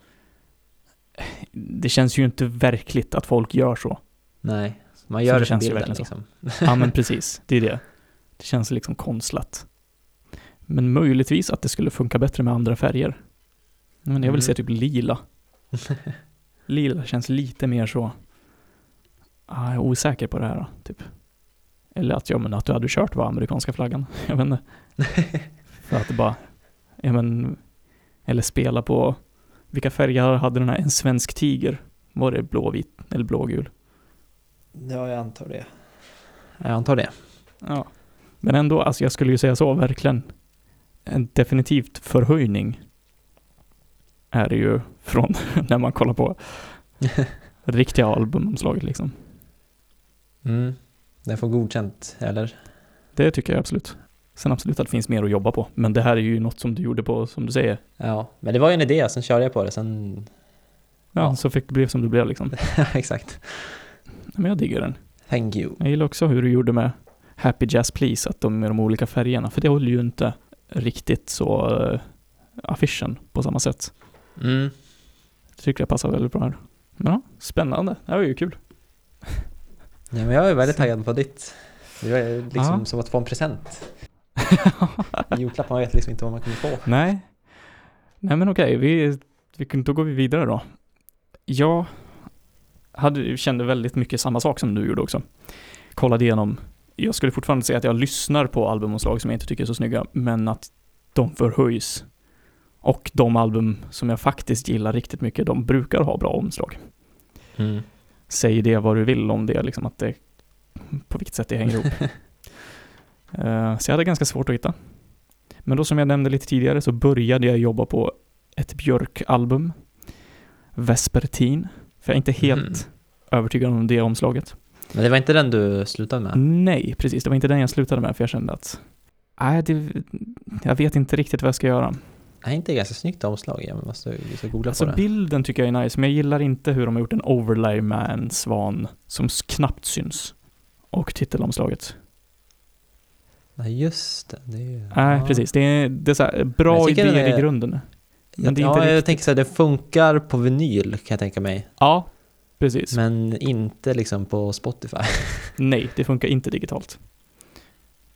Speaker 1: Det känns ju inte verkligt att folk gör så.
Speaker 2: nej. Man
Speaker 1: Så
Speaker 2: gör
Speaker 1: det
Speaker 2: det för
Speaker 1: känns ju
Speaker 2: bilden
Speaker 1: verkligen så.
Speaker 2: liksom.
Speaker 1: Ja men precis, det är det. Det känns liksom konstlat. Men möjligtvis att det skulle funka bättre med andra färger. Men jag vill
Speaker 2: Mm.
Speaker 1: se typ lila. Lila känns lite mer så... Ah, jag är osäker på det här typ. Eller att, ja, men att du hade kört var amerikanska flaggan. Jag vet inte. För att det bara... Ja, men, eller spela på... Vilka färger hade den här? En svensk tiger? Var det blåvit eller blågul?
Speaker 2: Ja, jag antar det. Jag antar det.
Speaker 1: Ja. Men ändå, alltså jag skulle ju säga så, verkligen. En definitivt förhöjning är det ju från när man kollar på riktiga albumomslaget liksom.
Speaker 2: Mm. Den får godkänt, eller?
Speaker 1: Det tycker jag absolut. Sen absolut att det finns mer att jobba på, men det här är ju något som du gjorde på, som du säger.
Speaker 2: Ja, men det var ju en idé, sen körde jag på det, sen...
Speaker 1: Ja,
Speaker 2: Ja.
Speaker 1: så fick det bli som det blev liksom.
Speaker 2: Exakt.
Speaker 1: Men jag diggar den.
Speaker 2: Thank you.
Speaker 1: Jag gillar också hur du gjorde med Happy Jazz Please, att de är de olika färgerna, för det håller ju inte riktigt så eh, affischen på samma sätt.
Speaker 2: Mm.
Speaker 1: Det tycker jag passar väldigt bra här. Men ja, spännande. Det här var ju kul.
Speaker 2: Ja, men jag är väldigt taggad på ditt. Det är liksom
Speaker 1: Ja.
Speaker 2: som att få en present. I julklapp, man vet liksom inte vad man kommer få.
Speaker 1: Nej. Nej men okej, vi, vi, kan- då går vi vidare då. Jag hade, kände väldigt mycket samma sak som du gjorde också. Kollade igenom. Jag skulle fortfarande säga att jag lyssnar på albumomslag som jag inte tycker är så snygga, men att de förhöjs. Och de album som jag faktiskt gillar riktigt mycket, de brukar ha bra omslag.
Speaker 2: Mm.
Speaker 1: säg det vad du vill om det, liksom att det, på vilket sätt det hänger ihop. Eh, så jag hade ganska svårt att hitta. Men då som jag nämnde lite tidigare så började jag jobba på ett Björk-album, Vespertin, för jag är inte helt
Speaker 2: Mhm.
Speaker 1: övertygad om det omslaget.
Speaker 2: Men det var inte den du slutade med?
Speaker 1: Nej, precis, det var inte den jag slutade med för jag kände att, nej, det, jag vet inte riktigt vad jag ska göra.
Speaker 2: Nej, inte ganska snyggt omslag. Jag måste, vi ska googla
Speaker 1: Alltså
Speaker 2: på det.
Speaker 1: bilden tycker jag är nice, men jag gillar inte hur de har gjort en overlay med en svan som s- knappt syns. Och titelomslaget.
Speaker 2: Nej, just det. det är ju,
Speaker 1: Nej,
Speaker 2: ja.
Speaker 1: precis. Det är, det är så här, bra
Speaker 2: Jag tycker
Speaker 1: idéer
Speaker 2: det är-
Speaker 1: i grunden. Men det är
Speaker 2: ja,
Speaker 1: inte
Speaker 2: jag
Speaker 1: riktigt...
Speaker 2: tänker så här, det funkar på vinyl kan jag tänka mig.
Speaker 1: Ja, precis.
Speaker 2: Men inte liksom på Spotify.
Speaker 1: Nej, det funkar inte digitalt.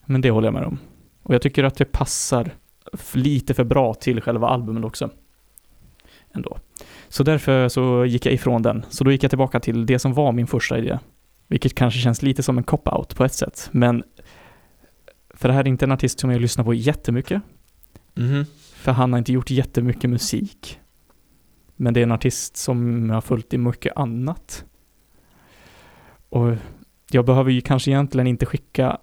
Speaker 1: Men det håller jag med om. Och jag tycker att det passar f- lite för bra till själva albumet också. Ändå. Så därför så gick jag ifrån den. Så då gick jag tillbaka till det som var min första idé. Vilket kanske känns lite som en cop-out på ett sätt, men för det här är inte en artist som jag lyssnar på jättemycket.
Speaker 2: Mhm.
Speaker 1: För han har inte gjort jättemycket musik. Men det är en artist som jag har följt i mycket annat. Och jag behöver ju kanske egentligen inte skicka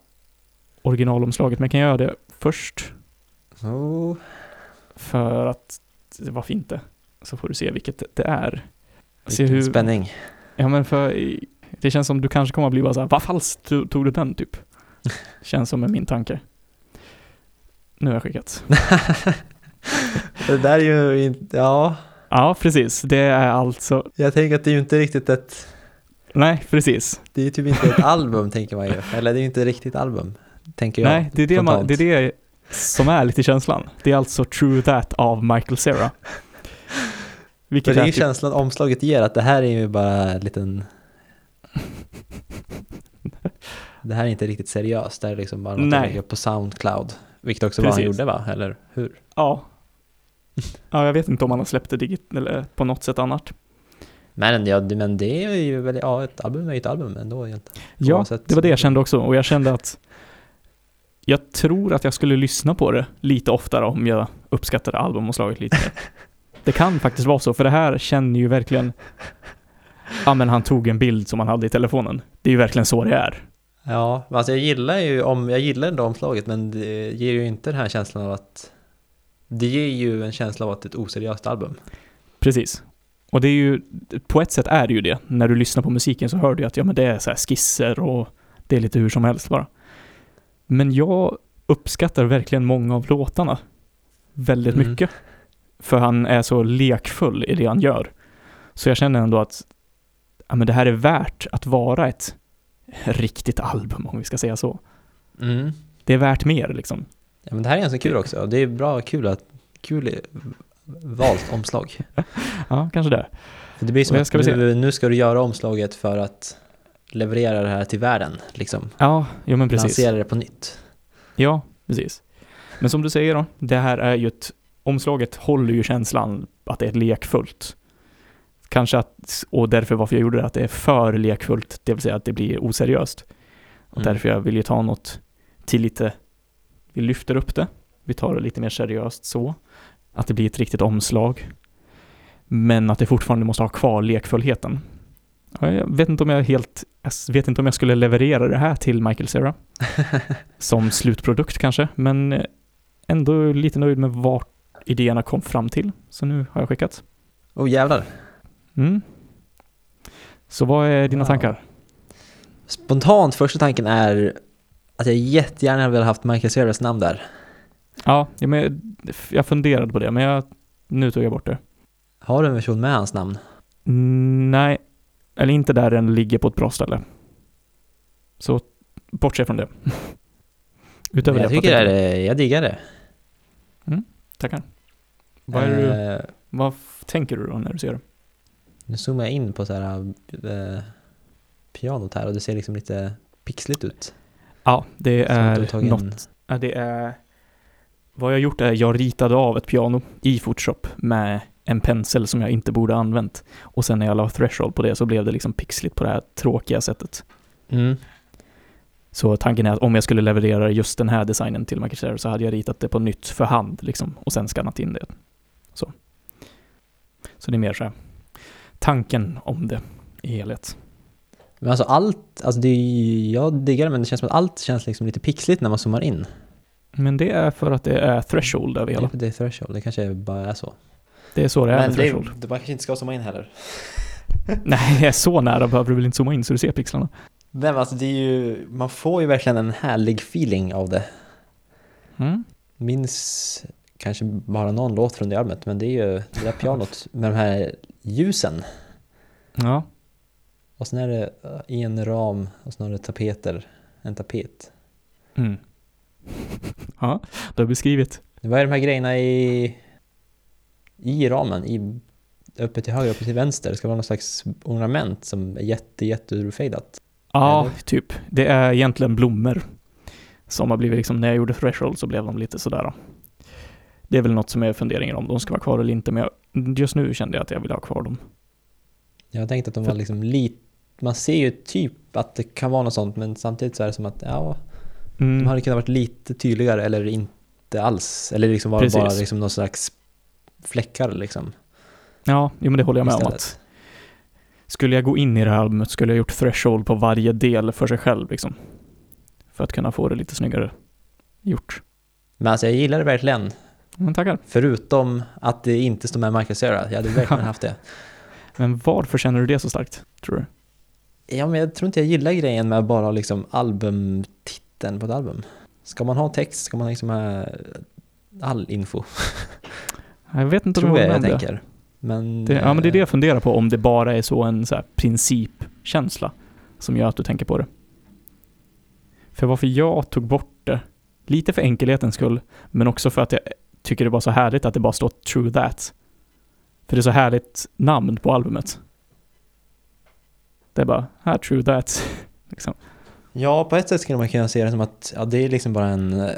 Speaker 1: originalomslaget, men kan jag göra det först?
Speaker 2: Oh.
Speaker 1: För att, varför inte? Så får du se vilket det är. Se
Speaker 2: vilken
Speaker 1: hur,
Speaker 2: Spänning.
Speaker 1: Ja men för, det känns som du kanske kommer att bli bara såhär, vad falskt tog tog du den typ? Känns som är min tanke. Nu har jag skickat.
Speaker 2: Det där är ju inte, ja,
Speaker 1: Ja, precis. Det är alltså...
Speaker 2: jag tänker att det är ju inte riktigt ett,
Speaker 1: Nej, precis.
Speaker 2: det är ju typ inte ett album tänker man ju. Eller det är ju inte riktigt album, tänker jag.
Speaker 1: Nej, det är det, man,
Speaker 2: spontant.
Speaker 1: det är det som är lite känslan. Det är alltså True That av Michael Cera.
Speaker 2: För
Speaker 1: Vilket
Speaker 2: det är
Speaker 1: är
Speaker 2: ju
Speaker 1: typ,
Speaker 2: känslan omslaget ger, att det här är ju bara en liten... Det här är inte riktigt seriöst, det här är liksom bara något
Speaker 1: Nej.
Speaker 2: att lägga upp på Soundcloud. Vilket också var han
Speaker 1: Precis.
Speaker 2: gjorde va, eller hur?
Speaker 1: ja. ja, jag vet inte om han har släppt det digit eller på något sätt annat.
Speaker 2: Men, ja, det- men det är ju väl, ja ett album är ju ett album ändå egentligen.
Speaker 1: Ja,
Speaker 2: Oavsett.
Speaker 1: det var det jag kände också och jag kände att jag tror att jag skulle lyssna på det lite oftare om jag uppskattade albumomslaget lite mer. Det kan faktiskt vara så, för det här känner ju verkligen Ja men han tog en bild som han hade i telefonen. Det är ju verkligen så det är.
Speaker 2: Ja, men alltså jag gillar ju om, jag gillar ändå omslaget men det ger ju inte den här känslan av att det ger ju en känsla av att det är ett oseriöst album.
Speaker 1: Precis. Och det är ju, på ett sätt är det ju det. När du lyssnar på musiken så hör du ju att ja, men det är så här skisser och det är lite hur som helst bara. Men jag uppskattar verkligen många av låtarna väldigt
Speaker 2: Mm.
Speaker 1: mycket. För han är så lekfull i det han gör. Så jag känner ändå att ja, men det här är värt att vara ett riktigt album, om vi ska säga så.
Speaker 2: Mm.
Speaker 1: Det är värt mer liksom.
Speaker 2: Ja, men det här är ganska kul också. Det är bra, kul att, kul i- valt omslag.
Speaker 1: Ja, kanske det.
Speaker 2: För det blir som
Speaker 1: Ja,
Speaker 2: att
Speaker 1: ska vi se.
Speaker 2: nu, nu ska du göra omslaget för att leverera det här till världen, liksom.
Speaker 1: Ja, jo men precis.
Speaker 2: Lansera det på nytt.
Speaker 1: Ja, precis. Men som du säger då, det här är ju ett... Omslaget håller ju känslan att det är lekfullt. Kanske att, och därför varför jag gjorde det, att det är för lekfullt, det vill säga att det blir oseriöst. Och
Speaker 2: Mm.
Speaker 1: därför jag vill ju ta något till lite, vi lyfter upp det, vi tar det lite mer seriöst så, att det blir ett riktigt omslag. Men att det fortfarande måste ha kvar lekfullheten. Ja, Jag vet inte om jag helt, jag vet inte om jag skulle leverera det här till Michael Cera som slutprodukt kanske, men eh, ändå lite nöjd med vart idéerna kom fram till. Så nu har jag skickat.
Speaker 2: Oh jävlar.
Speaker 1: Mm. Så vad är dina
Speaker 2: Wow.
Speaker 1: tankar?
Speaker 2: Spontant första tanken är att jag jättegärna hade velat haft Michael Ceras namn där.
Speaker 1: Ja, ja, men jag- jag funderade på det, men jag, nu tog jag bort det.
Speaker 2: Har du en version med hans namn?
Speaker 1: Mm, Nej, eller inte där den ligger på ett bra ställe. Så bortse från det. Utöver
Speaker 2: jag
Speaker 1: det. vad
Speaker 2: tycker det
Speaker 1: tänker
Speaker 2: är, jag diggar det.
Speaker 1: du? Tackar. Vad, är det du,
Speaker 2: Eh,
Speaker 1: vad f- tänker du då när du ser det?
Speaker 2: nu zoomar jag in på så här eh, pianot här och det ser liksom lite pixligt ut.
Speaker 1: Ja, det
Speaker 2: Som att de
Speaker 1: är
Speaker 2: tagit
Speaker 1: något
Speaker 2: en-
Speaker 1: Ja, det är... Vad jag gjort är, jag ritade av ett piano i Photoshop med en pensel som jag inte borde ha använt. Och sen när jag la threshold på det så blev det liksom pixligt på det här tråkiga sättet.
Speaker 2: Mm.
Speaker 1: Så tanken är att om jag skulle leverera just den här designen till Macrotero så hade jag ritat det på nytt för hand liksom och sen skannat in det. Så. Så det är mer så här tanken om det i helhet.
Speaker 2: Men alltså allt, alltså det är, ju- jag diggar det men det känns som att allt känns liksom lite pixligt när man zoomar in.
Speaker 1: Men det är för att det är threshold över
Speaker 2: Det är
Speaker 1: hela.
Speaker 2: för att det är threshold, det kanske bara är så.
Speaker 1: Det är så det är med threshold.
Speaker 2: det, man kanske inte ska zooma in heller.
Speaker 1: Nej, så nära behöver du väl inte zooma in så du ser pixlarna.
Speaker 2: Nej men alltså det är ju, man får ju verkligen en härlig feeling av det.
Speaker 1: Mm.
Speaker 2: Minns kanske bara någon låt från det albumet men det är ju det där pianot med de här ljusen.
Speaker 1: Ja,
Speaker 2: Och sen är det eh, i en ram och sen har det tapeter, en tapet.
Speaker 1: Mm. ja, du har beskrivit.
Speaker 2: Vad är de här grejerna i, i ramen? I, uppe till höger, uppe till vänster? Det ska vara någon slags ornament som är jätte, jätte urfadat.
Speaker 1: Ja,
Speaker 2: Eller?
Speaker 1: typ. Det är egentligen blommor. Som har blivit liksom, när jag gjorde Threshold så blev de lite sådär. då. Det är väl något som är funderingar om de ska vara kvar eller inte, men jag, just nu kände jag att jag ville ha kvar dem.
Speaker 2: Jag tänkte att de var
Speaker 1: För-
Speaker 2: liksom lite... Man ser ju typ att det kan vara något sånt men samtidigt så är det som att ja, de
Speaker 1: Mm.
Speaker 2: hade kunnat varit lite tydligare eller inte alls. Eller liksom var det bara
Speaker 1: Precis.
Speaker 2: liksom någon slags fläckar liksom.
Speaker 1: Ja, jo, men det håller jag med om
Speaker 2: istället.
Speaker 1: att skulle jag gå in i det här albumet skulle jag gjort Threshold på varje del för sig själv liksom. För att kunna få det lite snyggare gjort.
Speaker 2: Men alltså jag gillar det verkligen.
Speaker 1: Men Mm, tackar.
Speaker 2: Förutom att det inte står med Michael Cera. Jag hade verkligen haft det.
Speaker 1: Men varför känner du det så starkt, tror du?
Speaker 2: Ja, men jag tror inte jag gillar grejen med bara liksom albumtiteln på ett album. Ska man ha text ska man liksom ha all info,
Speaker 1: Jag vet inte om
Speaker 2: tror
Speaker 1: jag
Speaker 2: jag
Speaker 1: håller
Speaker 2: jag
Speaker 1: med om det.
Speaker 2: tänker. Men,
Speaker 1: Det, ja, men det är det
Speaker 2: eh,
Speaker 1: jag funderar på, om det bara är så en så här principkänsla som gör att du tänker på det. För varför jag tog bort det, lite för enkelhetens skull, men också för att jag tycker det var så härligt att det bara står True That. För det är så härligt namn på albumet. Det är bara, här, True That. Liksom.
Speaker 2: Ja, på ett sätt skulle man kunna se det som att ja, det är liksom bara en, eh,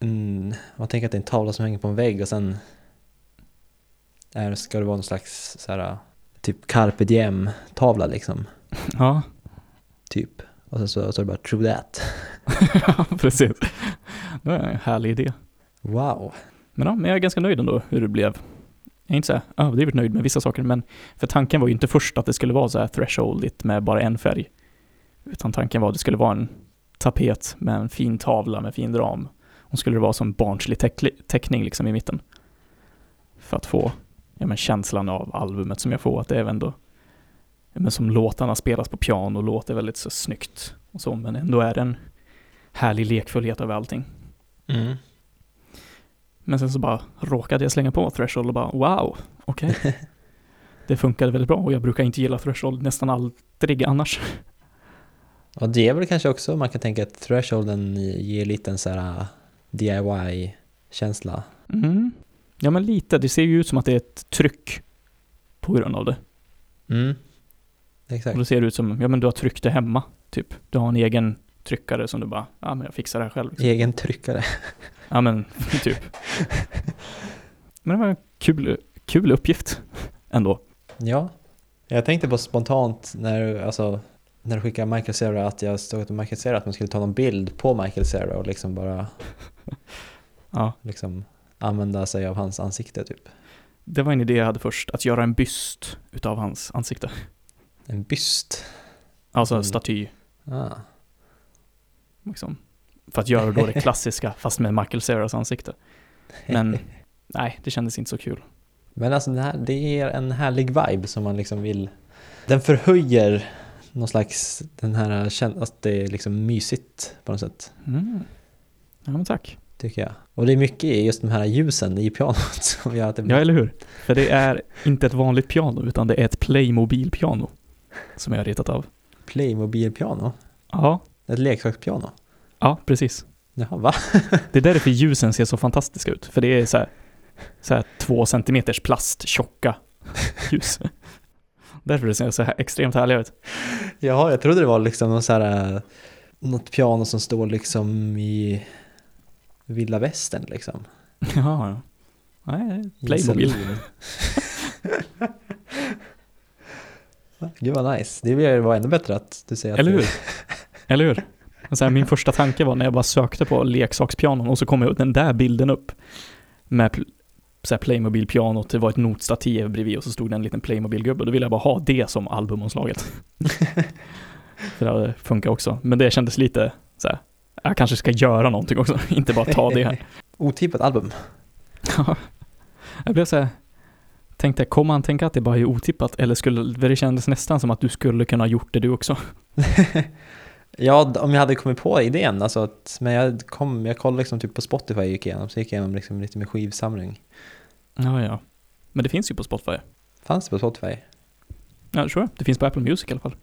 Speaker 2: en... Man tänker att det är en tavla som hänger på en vägg och sen är, ska det vara någon slags så här, typ carpe diem-tavla liksom.
Speaker 1: Ja,
Speaker 2: Typ. Och sen så, så är det bara true that.
Speaker 1: precis. Det var en härlig idé.
Speaker 2: Wow.
Speaker 1: Men ja, men jag är ganska nöjd ändå hur det blev. jag är inte så här överdrivet nöjd med vissa saker, men för tanken var ju inte först att det skulle vara så här thresholdigt med bara en färg. Utan tanken var att det skulle vara en tapet med en fin tavla med fin ram. Och skulle det vara som barnslig teckli- teckning liksom i mitten. För att få ja, men känslan av albumet som jag får, att det är ändå ja, men som låtarna spelas på piano, låter väldigt så snyggt och så, men ändå är det en härlig lekfullhet över allting.
Speaker 2: Mm.
Speaker 1: Men sen så bara råkade jag slänga på Threshold och bara wow, okej. det funkade väldigt bra och jag brukar inte gilla Threshold nästan aldrig annars.
Speaker 2: Och det är väl kanske också, man kan tänka att thresholden ger lite en så här ah, DIY-känsla.
Speaker 1: Mm. Ja men lite, det ser ju ut som att det är ett tryck på grund av det.
Speaker 2: Mm.
Speaker 1: Och
Speaker 2: Exakt.
Speaker 1: då ser det ut som, ja men du har tryckt det hemma, typ. Du har en egen tryckare som du bara, ja men jag fixar det här själv.
Speaker 2: Egen tryckare.
Speaker 1: Ja men, typ. Men det var en kul, kul uppgift ändå.
Speaker 2: Ja. Jag tänkte på spontant när, du- alltså, när du skickade Michael Cera att jag såg att Michael Cera att man skulle ta någon bild på Michael Cera och liksom bara
Speaker 1: Ja,
Speaker 2: liksom, använda sig av hans ansikte typ.
Speaker 1: det var en idé jag hade först, att göra en byst utav hans ansikte.
Speaker 2: En byst.
Speaker 1: Alltså en
Speaker 2: Mm.
Speaker 1: staty,
Speaker 2: Ah.
Speaker 1: liksom. För att göra då det klassiska, fast med Michael Ceras ansikte. Men nej, det kändes inte så kul.
Speaker 2: Men alltså det, här, det ger en härlig vibe som man liksom vill. Den förhöjer någon slags, den här känslan att det är liksom mysigt på något sätt.
Speaker 1: Mm. Ja men tack.
Speaker 2: Tycker jag. Och det är mycket i just de här ljusen i pianot som gör att det
Speaker 1: Ja
Speaker 2: blir...
Speaker 1: eller hur? För det är inte ett vanligt piano, utan det är ett Playmobil-piano. Som jag har ritat av.
Speaker 2: Playmobil-piano.
Speaker 1: Ja,
Speaker 2: Ett leksakspiano.
Speaker 1: ja precis.
Speaker 2: Jaha, va?
Speaker 1: Det är därför ljusen ser så fantastiska ut, för det är så här, så här två centimeters plast tjocka ljus. därför det ser så här extremt härliga ut.
Speaker 2: Jaha, jag trodde det var liksom någon så här, eh, något piano som står liksom i vilda västern liksom.
Speaker 1: Ja, ja. Nej,
Speaker 2: I en
Speaker 1: Playmobil.
Speaker 2: saloon. Gud vad nice. Det blir- var ännu bättre att du säger att
Speaker 1: Eller
Speaker 2: det-
Speaker 1: hur? Eller hur? Och så här, min första tanke var när jag bara sökte på leksakspianon och så kom jag den där bilden upp med pl- så här Playmobil-pianot, det var ett notstativ bredvid och så stod det en liten Playmobil-gubbe. Då ville jag bara ha det som albumomslaget. För det hade funkat också. Men det kändes lite så här, jag kanske ska göra någonting också, inte bara ta det här.
Speaker 2: Otippat album.
Speaker 1: Ja. jag blev så här, tänkte, kommer han tänka att det bara är otippat? Eller skulle, för det kändes nästan som att du skulle kunna ha gjort det du också.
Speaker 2: Ja, d- om jag hade kommit på idén. Alltså att, men jag, kom, jag kollade liksom typ på Spotify gick igenom, så gick jag igenom liksom lite med skivsamling.
Speaker 1: Ja, ja. Men det finns ju på Spotify.
Speaker 2: Fanns det på Spotify?
Speaker 1: Ja, det tror jag. Det finns på Apple Music i alla fall.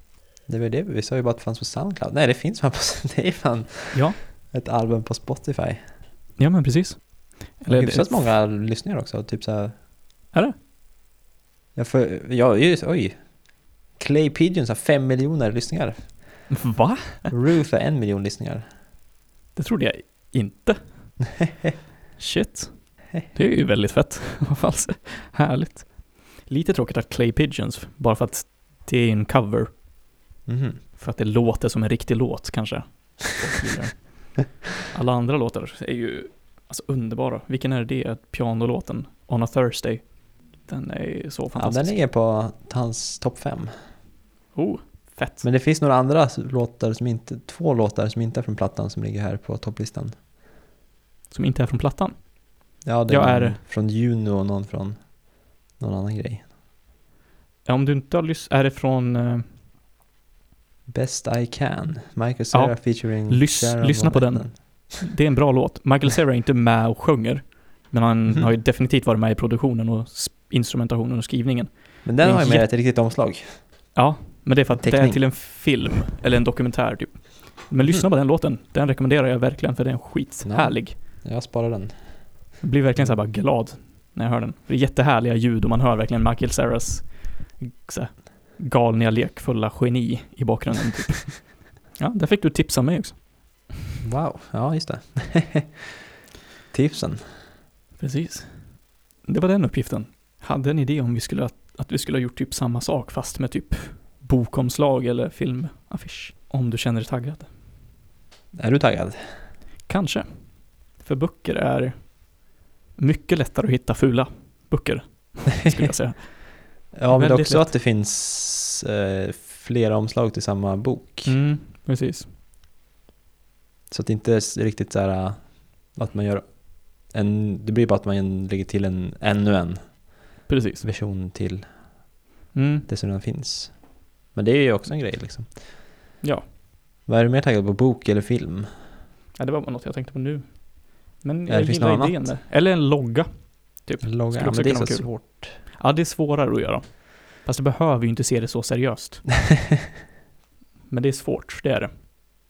Speaker 2: Det var det vi sa ju bara att det fanns på Soundcloud. Nej, det finns fan på... Det är fan
Speaker 1: Ja.
Speaker 2: ett album på Spotify.
Speaker 1: Ja, men precis.
Speaker 2: Eller
Speaker 1: Eller-
Speaker 2: hyfsat många lyssnare också, typ så här.
Speaker 1: Är det?
Speaker 2: Jag får, ja, just, oj. Clay Pigeons har fem miljoner lyssningar.
Speaker 1: Va?
Speaker 2: Ruth har en miljon lyssningar.
Speaker 1: Det trodde jag inte. Shit. Det är ju väldigt fett. Vad fan, så Härligt. Lite tråkigt att Clay Pigeons, bara för att det är en cover.
Speaker 2: Mhm.
Speaker 1: För att det låter som en riktig låt kanske. Folk gillar den. Alla andra låtar är ju alltså, underbara. Vilken är det? Pianolåten On a Thursday. Den är ju så
Speaker 2: Ja, den
Speaker 1: fantastisk.
Speaker 2: ligger på hans topp fem.
Speaker 1: Oh, fett.
Speaker 2: Men det finns några andra låtar som inte, två låtar som inte är från plattan som ligger här på topplistan.
Speaker 1: Som inte är från plattan.
Speaker 2: Ja, det är,
Speaker 1: Jag är-
Speaker 2: någon från Juno och någon från någon annan grej.
Speaker 1: Ja, om du inte har lyssnat, är det från... eh,
Speaker 2: Best I Can, Michael Cera
Speaker 1: Ja.
Speaker 2: featuring
Speaker 1: Lys-
Speaker 2: Sharon
Speaker 1: lyssna på
Speaker 2: Van
Speaker 1: den.
Speaker 2: Etten.
Speaker 1: Det är en bra låt. Michael Cera är inte med och sjunger, men han
Speaker 2: Mhm.
Speaker 1: har ju definitivt varit med i produktionen och s- instrumentationen och skrivningen.
Speaker 2: Men
Speaker 1: Det
Speaker 2: den
Speaker 1: är
Speaker 2: har ju med
Speaker 1: jätte-
Speaker 2: ett riktigt omslag.
Speaker 1: Ja, men det är för att det är
Speaker 2: Teckning.
Speaker 1: till en film, eller en dokumentär typ. Men lyssna på den låten, den rekommenderar jag verkligen för den är skithärlig.
Speaker 2: Jag sparar den.
Speaker 1: Jag blir verkligen så här bara glad när jag hör den. Det är jättehärliga ljud och man hör verkligen Michael Ceras så här, galna, lekfulla geni i bakgrunden. Typ. Ja, där fick du tips av mig också.
Speaker 2: Wow, ja just det. Tipsen.
Speaker 1: Precis. Det var den uppgiften. Hade en idé om vi skulle, att vi skulle ha gjort typ samma sak fast med typ bokomslag eller filmaffisch. Om du känner dig taggad.
Speaker 2: Är du taggad?
Speaker 1: Kanske. För böcker är mycket lättare att hitta fula böcker skulle jag säga.
Speaker 2: Ja, men det är
Speaker 1: Väldigt
Speaker 2: också
Speaker 1: lätt.
Speaker 2: att det finns eh, flera omslag till samma bok.
Speaker 1: Mm, precis.
Speaker 2: Så att det inte är s- riktigt så här äh, att man gör en, det blir bara att man lägger till en, ännu en
Speaker 1: Precis.
Speaker 2: version till
Speaker 1: Mm.
Speaker 2: det som redan finns. Men det är ju också en grej liksom.
Speaker 1: Ja.
Speaker 2: Vad är du mer taggad på, bok eller film?
Speaker 1: ja, det var bara något jag tänkte på nu. Men
Speaker 2: Ja,
Speaker 1: jag
Speaker 2: det finns
Speaker 1: gillar
Speaker 2: något
Speaker 1: idén där.
Speaker 2: annat.
Speaker 1: Eller en logga.
Speaker 2: Logga,
Speaker 1: Skulle
Speaker 2: ja,
Speaker 1: också
Speaker 2: men det är
Speaker 1: kunna
Speaker 2: så
Speaker 1: vara kul.
Speaker 2: svårt.
Speaker 1: Ja, det är svårare att göra. Fast det behöver ju inte se det så seriöst. Men det är svårt, det är det.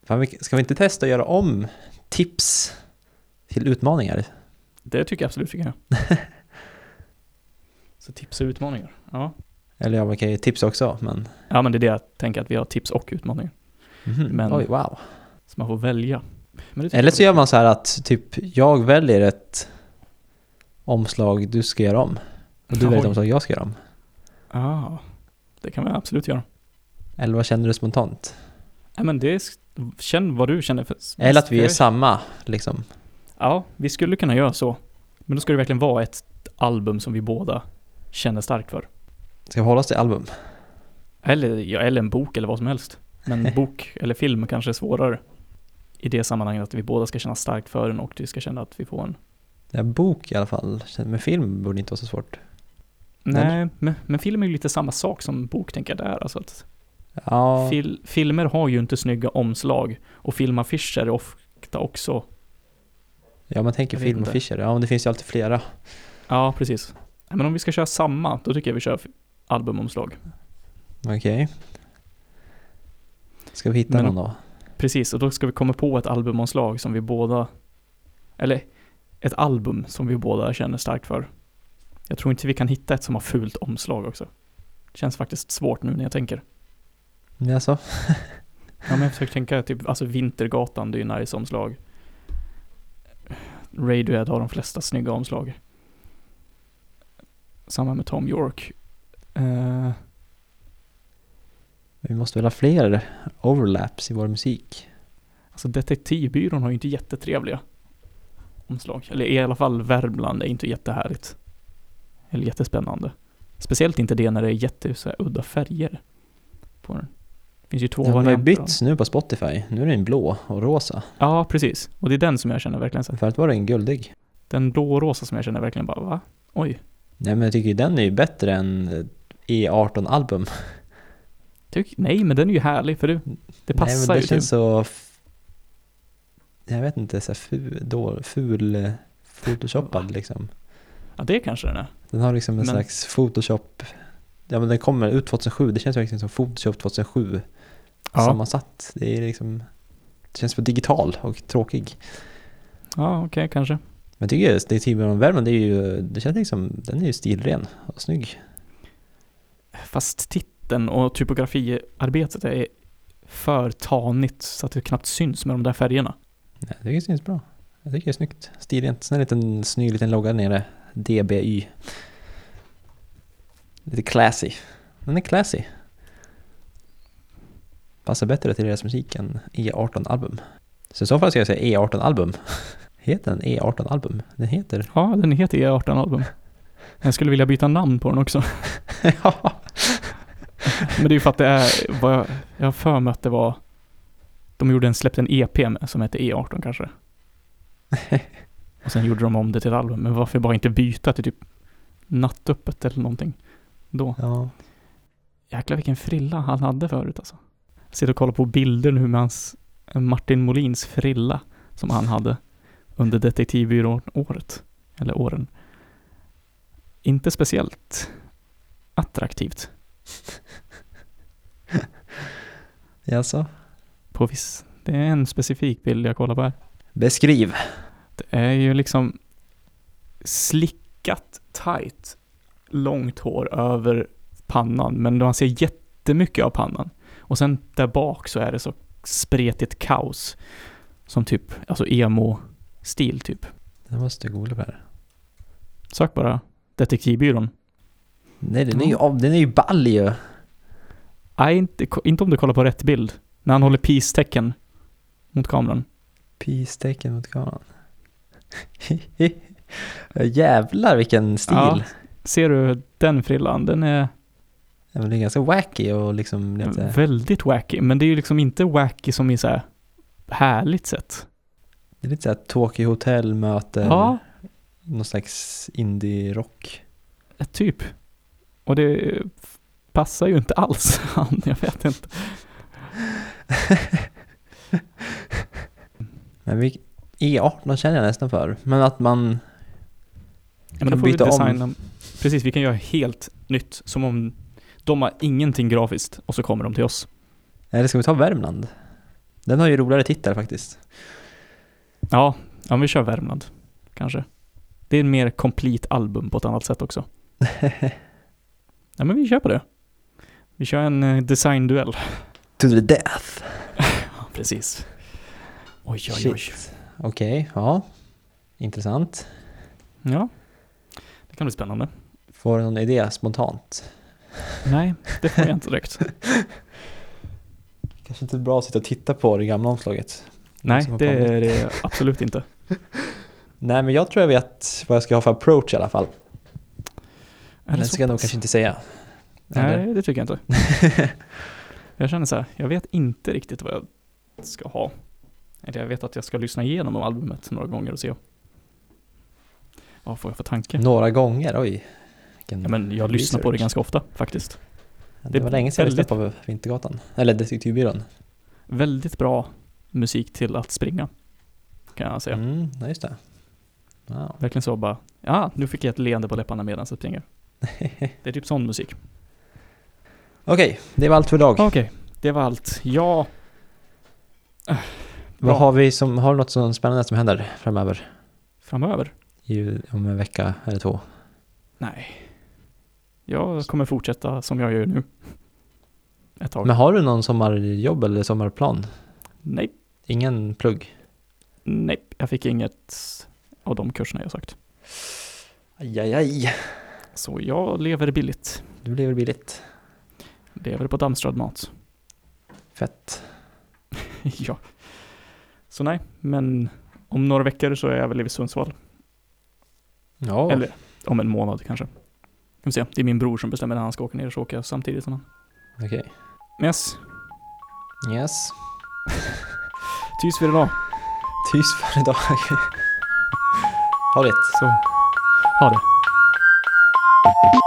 Speaker 2: Fan, vi- ska vi inte testa att göra om tips till utmaningar?
Speaker 1: Det tycker jag absolut vi kan göra. Så tips och utmaningar. Ja.
Speaker 2: Eller ja, man kan ju tipsa också, men...
Speaker 1: ja, men det är det jag tänker att vi har tips och utmaningar.
Speaker 2: Mhm.
Speaker 1: Men-
Speaker 2: Oj, wow.
Speaker 1: Så man får välja. Men det tycker
Speaker 2: Eller
Speaker 1: jag
Speaker 2: så gör man så här att typ jag väljer ett omslag du ska göra om. Och du väljer ett
Speaker 1: Oj.
Speaker 2: omslag jag ska göra om.
Speaker 1: Ja, det kan vi absolut göra.
Speaker 2: Eller vad känner du spontant?
Speaker 1: Ja, men det är, känn vad du känner för.
Speaker 2: Eller att vi är
Speaker 1: Jag-
Speaker 2: samma liksom.
Speaker 1: Ja, vi skulle kunna göra så. Men då ska det verkligen vara ett album som vi båda känner starkt för.
Speaker 2: Ska vi hålla oss till album?
Speaker 1: Eller, ja, eller en bok eller vad som helst. Men bok eller film kanske är svårare. I det sammanhanget att vi båda ska känna starkt för den och du ska känna att vi får en...
Speaker 2: Ja, bok i alla fall. Men film borde inte vara så svårt.
Speaker 1: Nej, men, men film är ju lite samma sak som bok tänker jag där. Alltså att
Speaker 2: Ja,
Speaker 1: fil, filmer har ju inte snygga omslag och filmaffischer är ofta också...
Speaker 2: ja man tänker
Speaker 1: Jag vet
Speaker 2: film och
Speaker 1: inte.
Speaker 2: fischer. Ja, men det finns ju alltid flera.
Speaker 1: Ja, precis. Nej, Men om vi ska köra samma, då tycker jag vi kör f- albumomslag.
Speaker 2: Okej. Ska vi hitta
Speaker 1: Men-
Speaker 2: någon då?
Speaker 1: Precis, och då ska vi komma på ett albumomslag som vi båda... Eller ett album som vi båda känner starkt för. Jag tror inte vi kan hitta ett som har fult omslag också. Det känns faktiskt svårt nu när jag tänker.
Speaker 2: Men Alltså,
Speaker 1: Ja, men jag försöker tänka typ, alltså Vintergatan, det är ju nice omslag. Radiohead har de flesta snygga omslag. Samma med Tom York. Eh,
Speaker 2: vi måste väl ha fler overlaps i vår musik?
Speaker 1: Alltså Detektivbyrån har ju inte jättetrevliga omslag. Eller i alla fall Värmland är inte jättehärligt. Eller jättespännande. Speciellt inte det när det är jätte, så här, udda färger på den. Det finns ju två
Speaker 2: Den har ju
Speaker 1: varianter. av
Speaker 2: bytts nu på Spotify. Nu är den blå och rosa.
Speaker 1: den. Ja, precis. Och det är den som jag känner verkligen så här.
Speaker 2: Förut var den guldig.
Speaker 1: Den blårosa som jag känner verkligen bara, va? Oj,
Speaker 2: Nej men jag tycker ju den är ju bättre än eh, E18-album.
Speaker 1: tyck, nej men den är ju härlig för du. Det passar
Speaker 2: Nej men
Speaker 1: ju.
Speaker 2: det
Speaker 1: typ.
Speaker 2: känns så... f- Jag vet inte, så här ful, då, ful eh, photoshoppad liksom.
Speaker 1: Ja, det kanske den är.
Speaker 2: Den har liksom en
Speaker 1: Men-
Speaker 2: slags photoshop... Ja men den kommer ut 2007, det känns verkligen som photoshop 2007. Sammansatt. Det är liksom... Det känns för digital och tråkig.
Speaker 1: ja okej, kanske.
Speaker 2: Men jag tycker just det är Tibor och Värmland, det är ju... Det känns liksom... Den är ju stilren och snygg.
Speaker 1: Fast titeln och typografiarbetet är för tanigt så att det knappt syns med de där färgerna.
Speaker 2: Nej, jag tycker det syns bra. Jag tycker det är snyggt. Stilrent. Sen en liten snygg liten logga nere. DBY. Lite classy. Den är classy. Passar bättre till deras musik än E18-album. Så i så fall ska jag säga E18-album. Heter den E18-album? Den heter...
Speaker 1: Ja, den heter E18 Album. Jag skulle vilja byta namn på den också.
Speaker 2: ja.
Speaker 1: Men det är ju för att det är, vad jag, jag har för mig att det var, de gjorde en, släppte en EP med, som hette E18 kanske. Och sen gjorde de om det till ett album, men varför bara inte byta till typ Nattöppet eller någonting? Då.
Speaker 2: ja.
Speaker 1: Jäklar vilken frilla han hade förut alltså. Jag sitter och kollar på bilder nu med hans eh, Martin Molins frilla som han hade under Detektivbyrån-året. Eller åren. Inte speciellt attraktivt
Speaker 2: Jaså?
Speaker 1: på viss... Det är en specifik bild jag kollar på här.
Speaker 2: Beskriv.
Speaker 1: Det är ju liksom slickat tight, långt hår över pannan, men man ser jättemycket av pannan. Och sen där bak så är det så spretigt kaos. Som typ, alltså emo-stil typ.
Speaker 2: Den måste jag googla på här.
Speaker 1: Sök bara Detektivbyrån.
Speaker 2: Nej, den är ju, av- den är ju ball ju.
Speaker 1: Nej, inte, inte om du kollar på rätt bild. När han håller peace-tecken mot kameran.
Speaker 2: Peace-tecken mot kameran. Jävlar vilken stil.
Speaker 1: Ja. Ser du den frillan? Den är
Speaker 2: Ja, men det är ganska wacky och liksom
Speaker 1: Mm.
Speaker 2: lite...
Speaker 1: väldigt wacky, men det är ju liksom inte wacky som i så här härligt sätt.
Speaker 2: Det är lite såhär Tokyo Hotel möter
Speaker 1: Ja,
Speaker 2: någon slags indie-rock.
Speaker 1: typ. Och det passar ju inte alls han, jag vet inte.
Speaker 2: Men vi, E18 känner jag nästan för. Men att man, eh,
Speaker 1: Ja, men då
Speaker 2: Kan
Speaker 1: får vi
Speaker 2: byta om.
Speaker 1: designa, precis vi kan göra helt nytt, som om de har ingenting grafiskt och så kommer de till oss.
Speaker 2: eller ska vi ta Värmland? Den har ju roligare titel faktiskt.
Speaker 1: Ja, ja men vi kör Värmland, kanske. Det är en mer komplett album på ett annat sätt också. Ja men vi kör på det. Vi kör en eh, designduell.
Speaker 2: To the death.
Speaker 1: Ja, precis. Oj, oj, oj.
Speaker 2: Shit. Okej, ja. Intressant.
Speaker 1: Ja. Det kan bli spännande.
Speaker 2: Får du någon idé spontant?
Speaker 1: Nej, det får jag inte direkt.
Speaker 2: Kanske inte bra att sitta och titta på det gamla omslaget.
Speaker 1: Nej,
Speaker 2: Som har
Speaker 1: det
Speaker 2: kommit.
Speaker 1: är det absolut inte.
Speaker 2: Nej, men jag tror jag vet vad jag ska ha för approach i alla fall.
Speaker 1: Eller
Speaker 2: Men det
Speaker 1: så
Speaker 2: ska jag nog
Speaker 1: pass.
Speaker 2: kanske inte säga. Eller?
Speaker 1: Nej, det tycker jag inte. jag känner så här, jag vet inte riktigt vad jag ska ha. Eller jag vet att jag ska lyssna igenom albumet några gånger och se vad får jag för tanke.
Speaker 2: Några gånger, oj. Vilken
Speaker 1: Ja, men jag lyssnar på det
Speaker 2: Mm, research.
Speaker 1: ganska ofta faktiskt. Det
Speaker 2: Ja, Det
Speaker 1: är
Speaker 2: var länge sedan jag
Speaker 1: väldigt-
Speaker 2: lyssnade på Vintergatan. Eller Detektivbyrån.
Speaker 1: Väldigt bra musik till att springa, kan jag säga.
Speaker 2: Mm, ja, just det. Wow.
Speaker 1: Verkligen så bara, ja, nu fick jag ett leende på läpparna medan jag springer. Det är typ sån musik.
Speaker 2: Okej, det var allt för idag.
Speaker 1: Okej, det var allt. Ja,
Speaker 2: Vad
Speaker 1: bra.
Speaker 2: har vi som, har du något som spännande som händer framöver?
Speaker 1: framöver?
Speaker 2: I, om en vecka eller två?
Speaker 1: Nej. Jag kommer fortsätta som jag gör nu. Ett tag.
Speaker 2: Men har du någon sommarjobb eller sommarplan?
Speaker 1: Nej,
Speaker 2: Ingen plugg?
Speaker 1: nej, jag fick inget av de kurserna jag sökt.
Speaker 2: Aj, aj, aj.
Speaker 1: Så jag lever billigt.
Speaker 2: Det blir väl billigt.
Speaker 1: Lever på dammströdd mat.
Speaker 2: Fett.
Speaker 1: ja. Så nej, men om några veckor så är jag väl i Sundsvall.
Speaker 2: Ja,
Speaker 1: Eller om en månad kanske. Får vi se. Det är min bror som bestämmer när han ska åka ner, så åker jag samtidigt som han.
Speaker 2: okej.
Speaker 1: Men yes,
Speaker 2: Yes.
Speaker 1: tyst för idag.
Speaker 2: Tyst för idag. ha det.
Speaker 1: Så, ha det.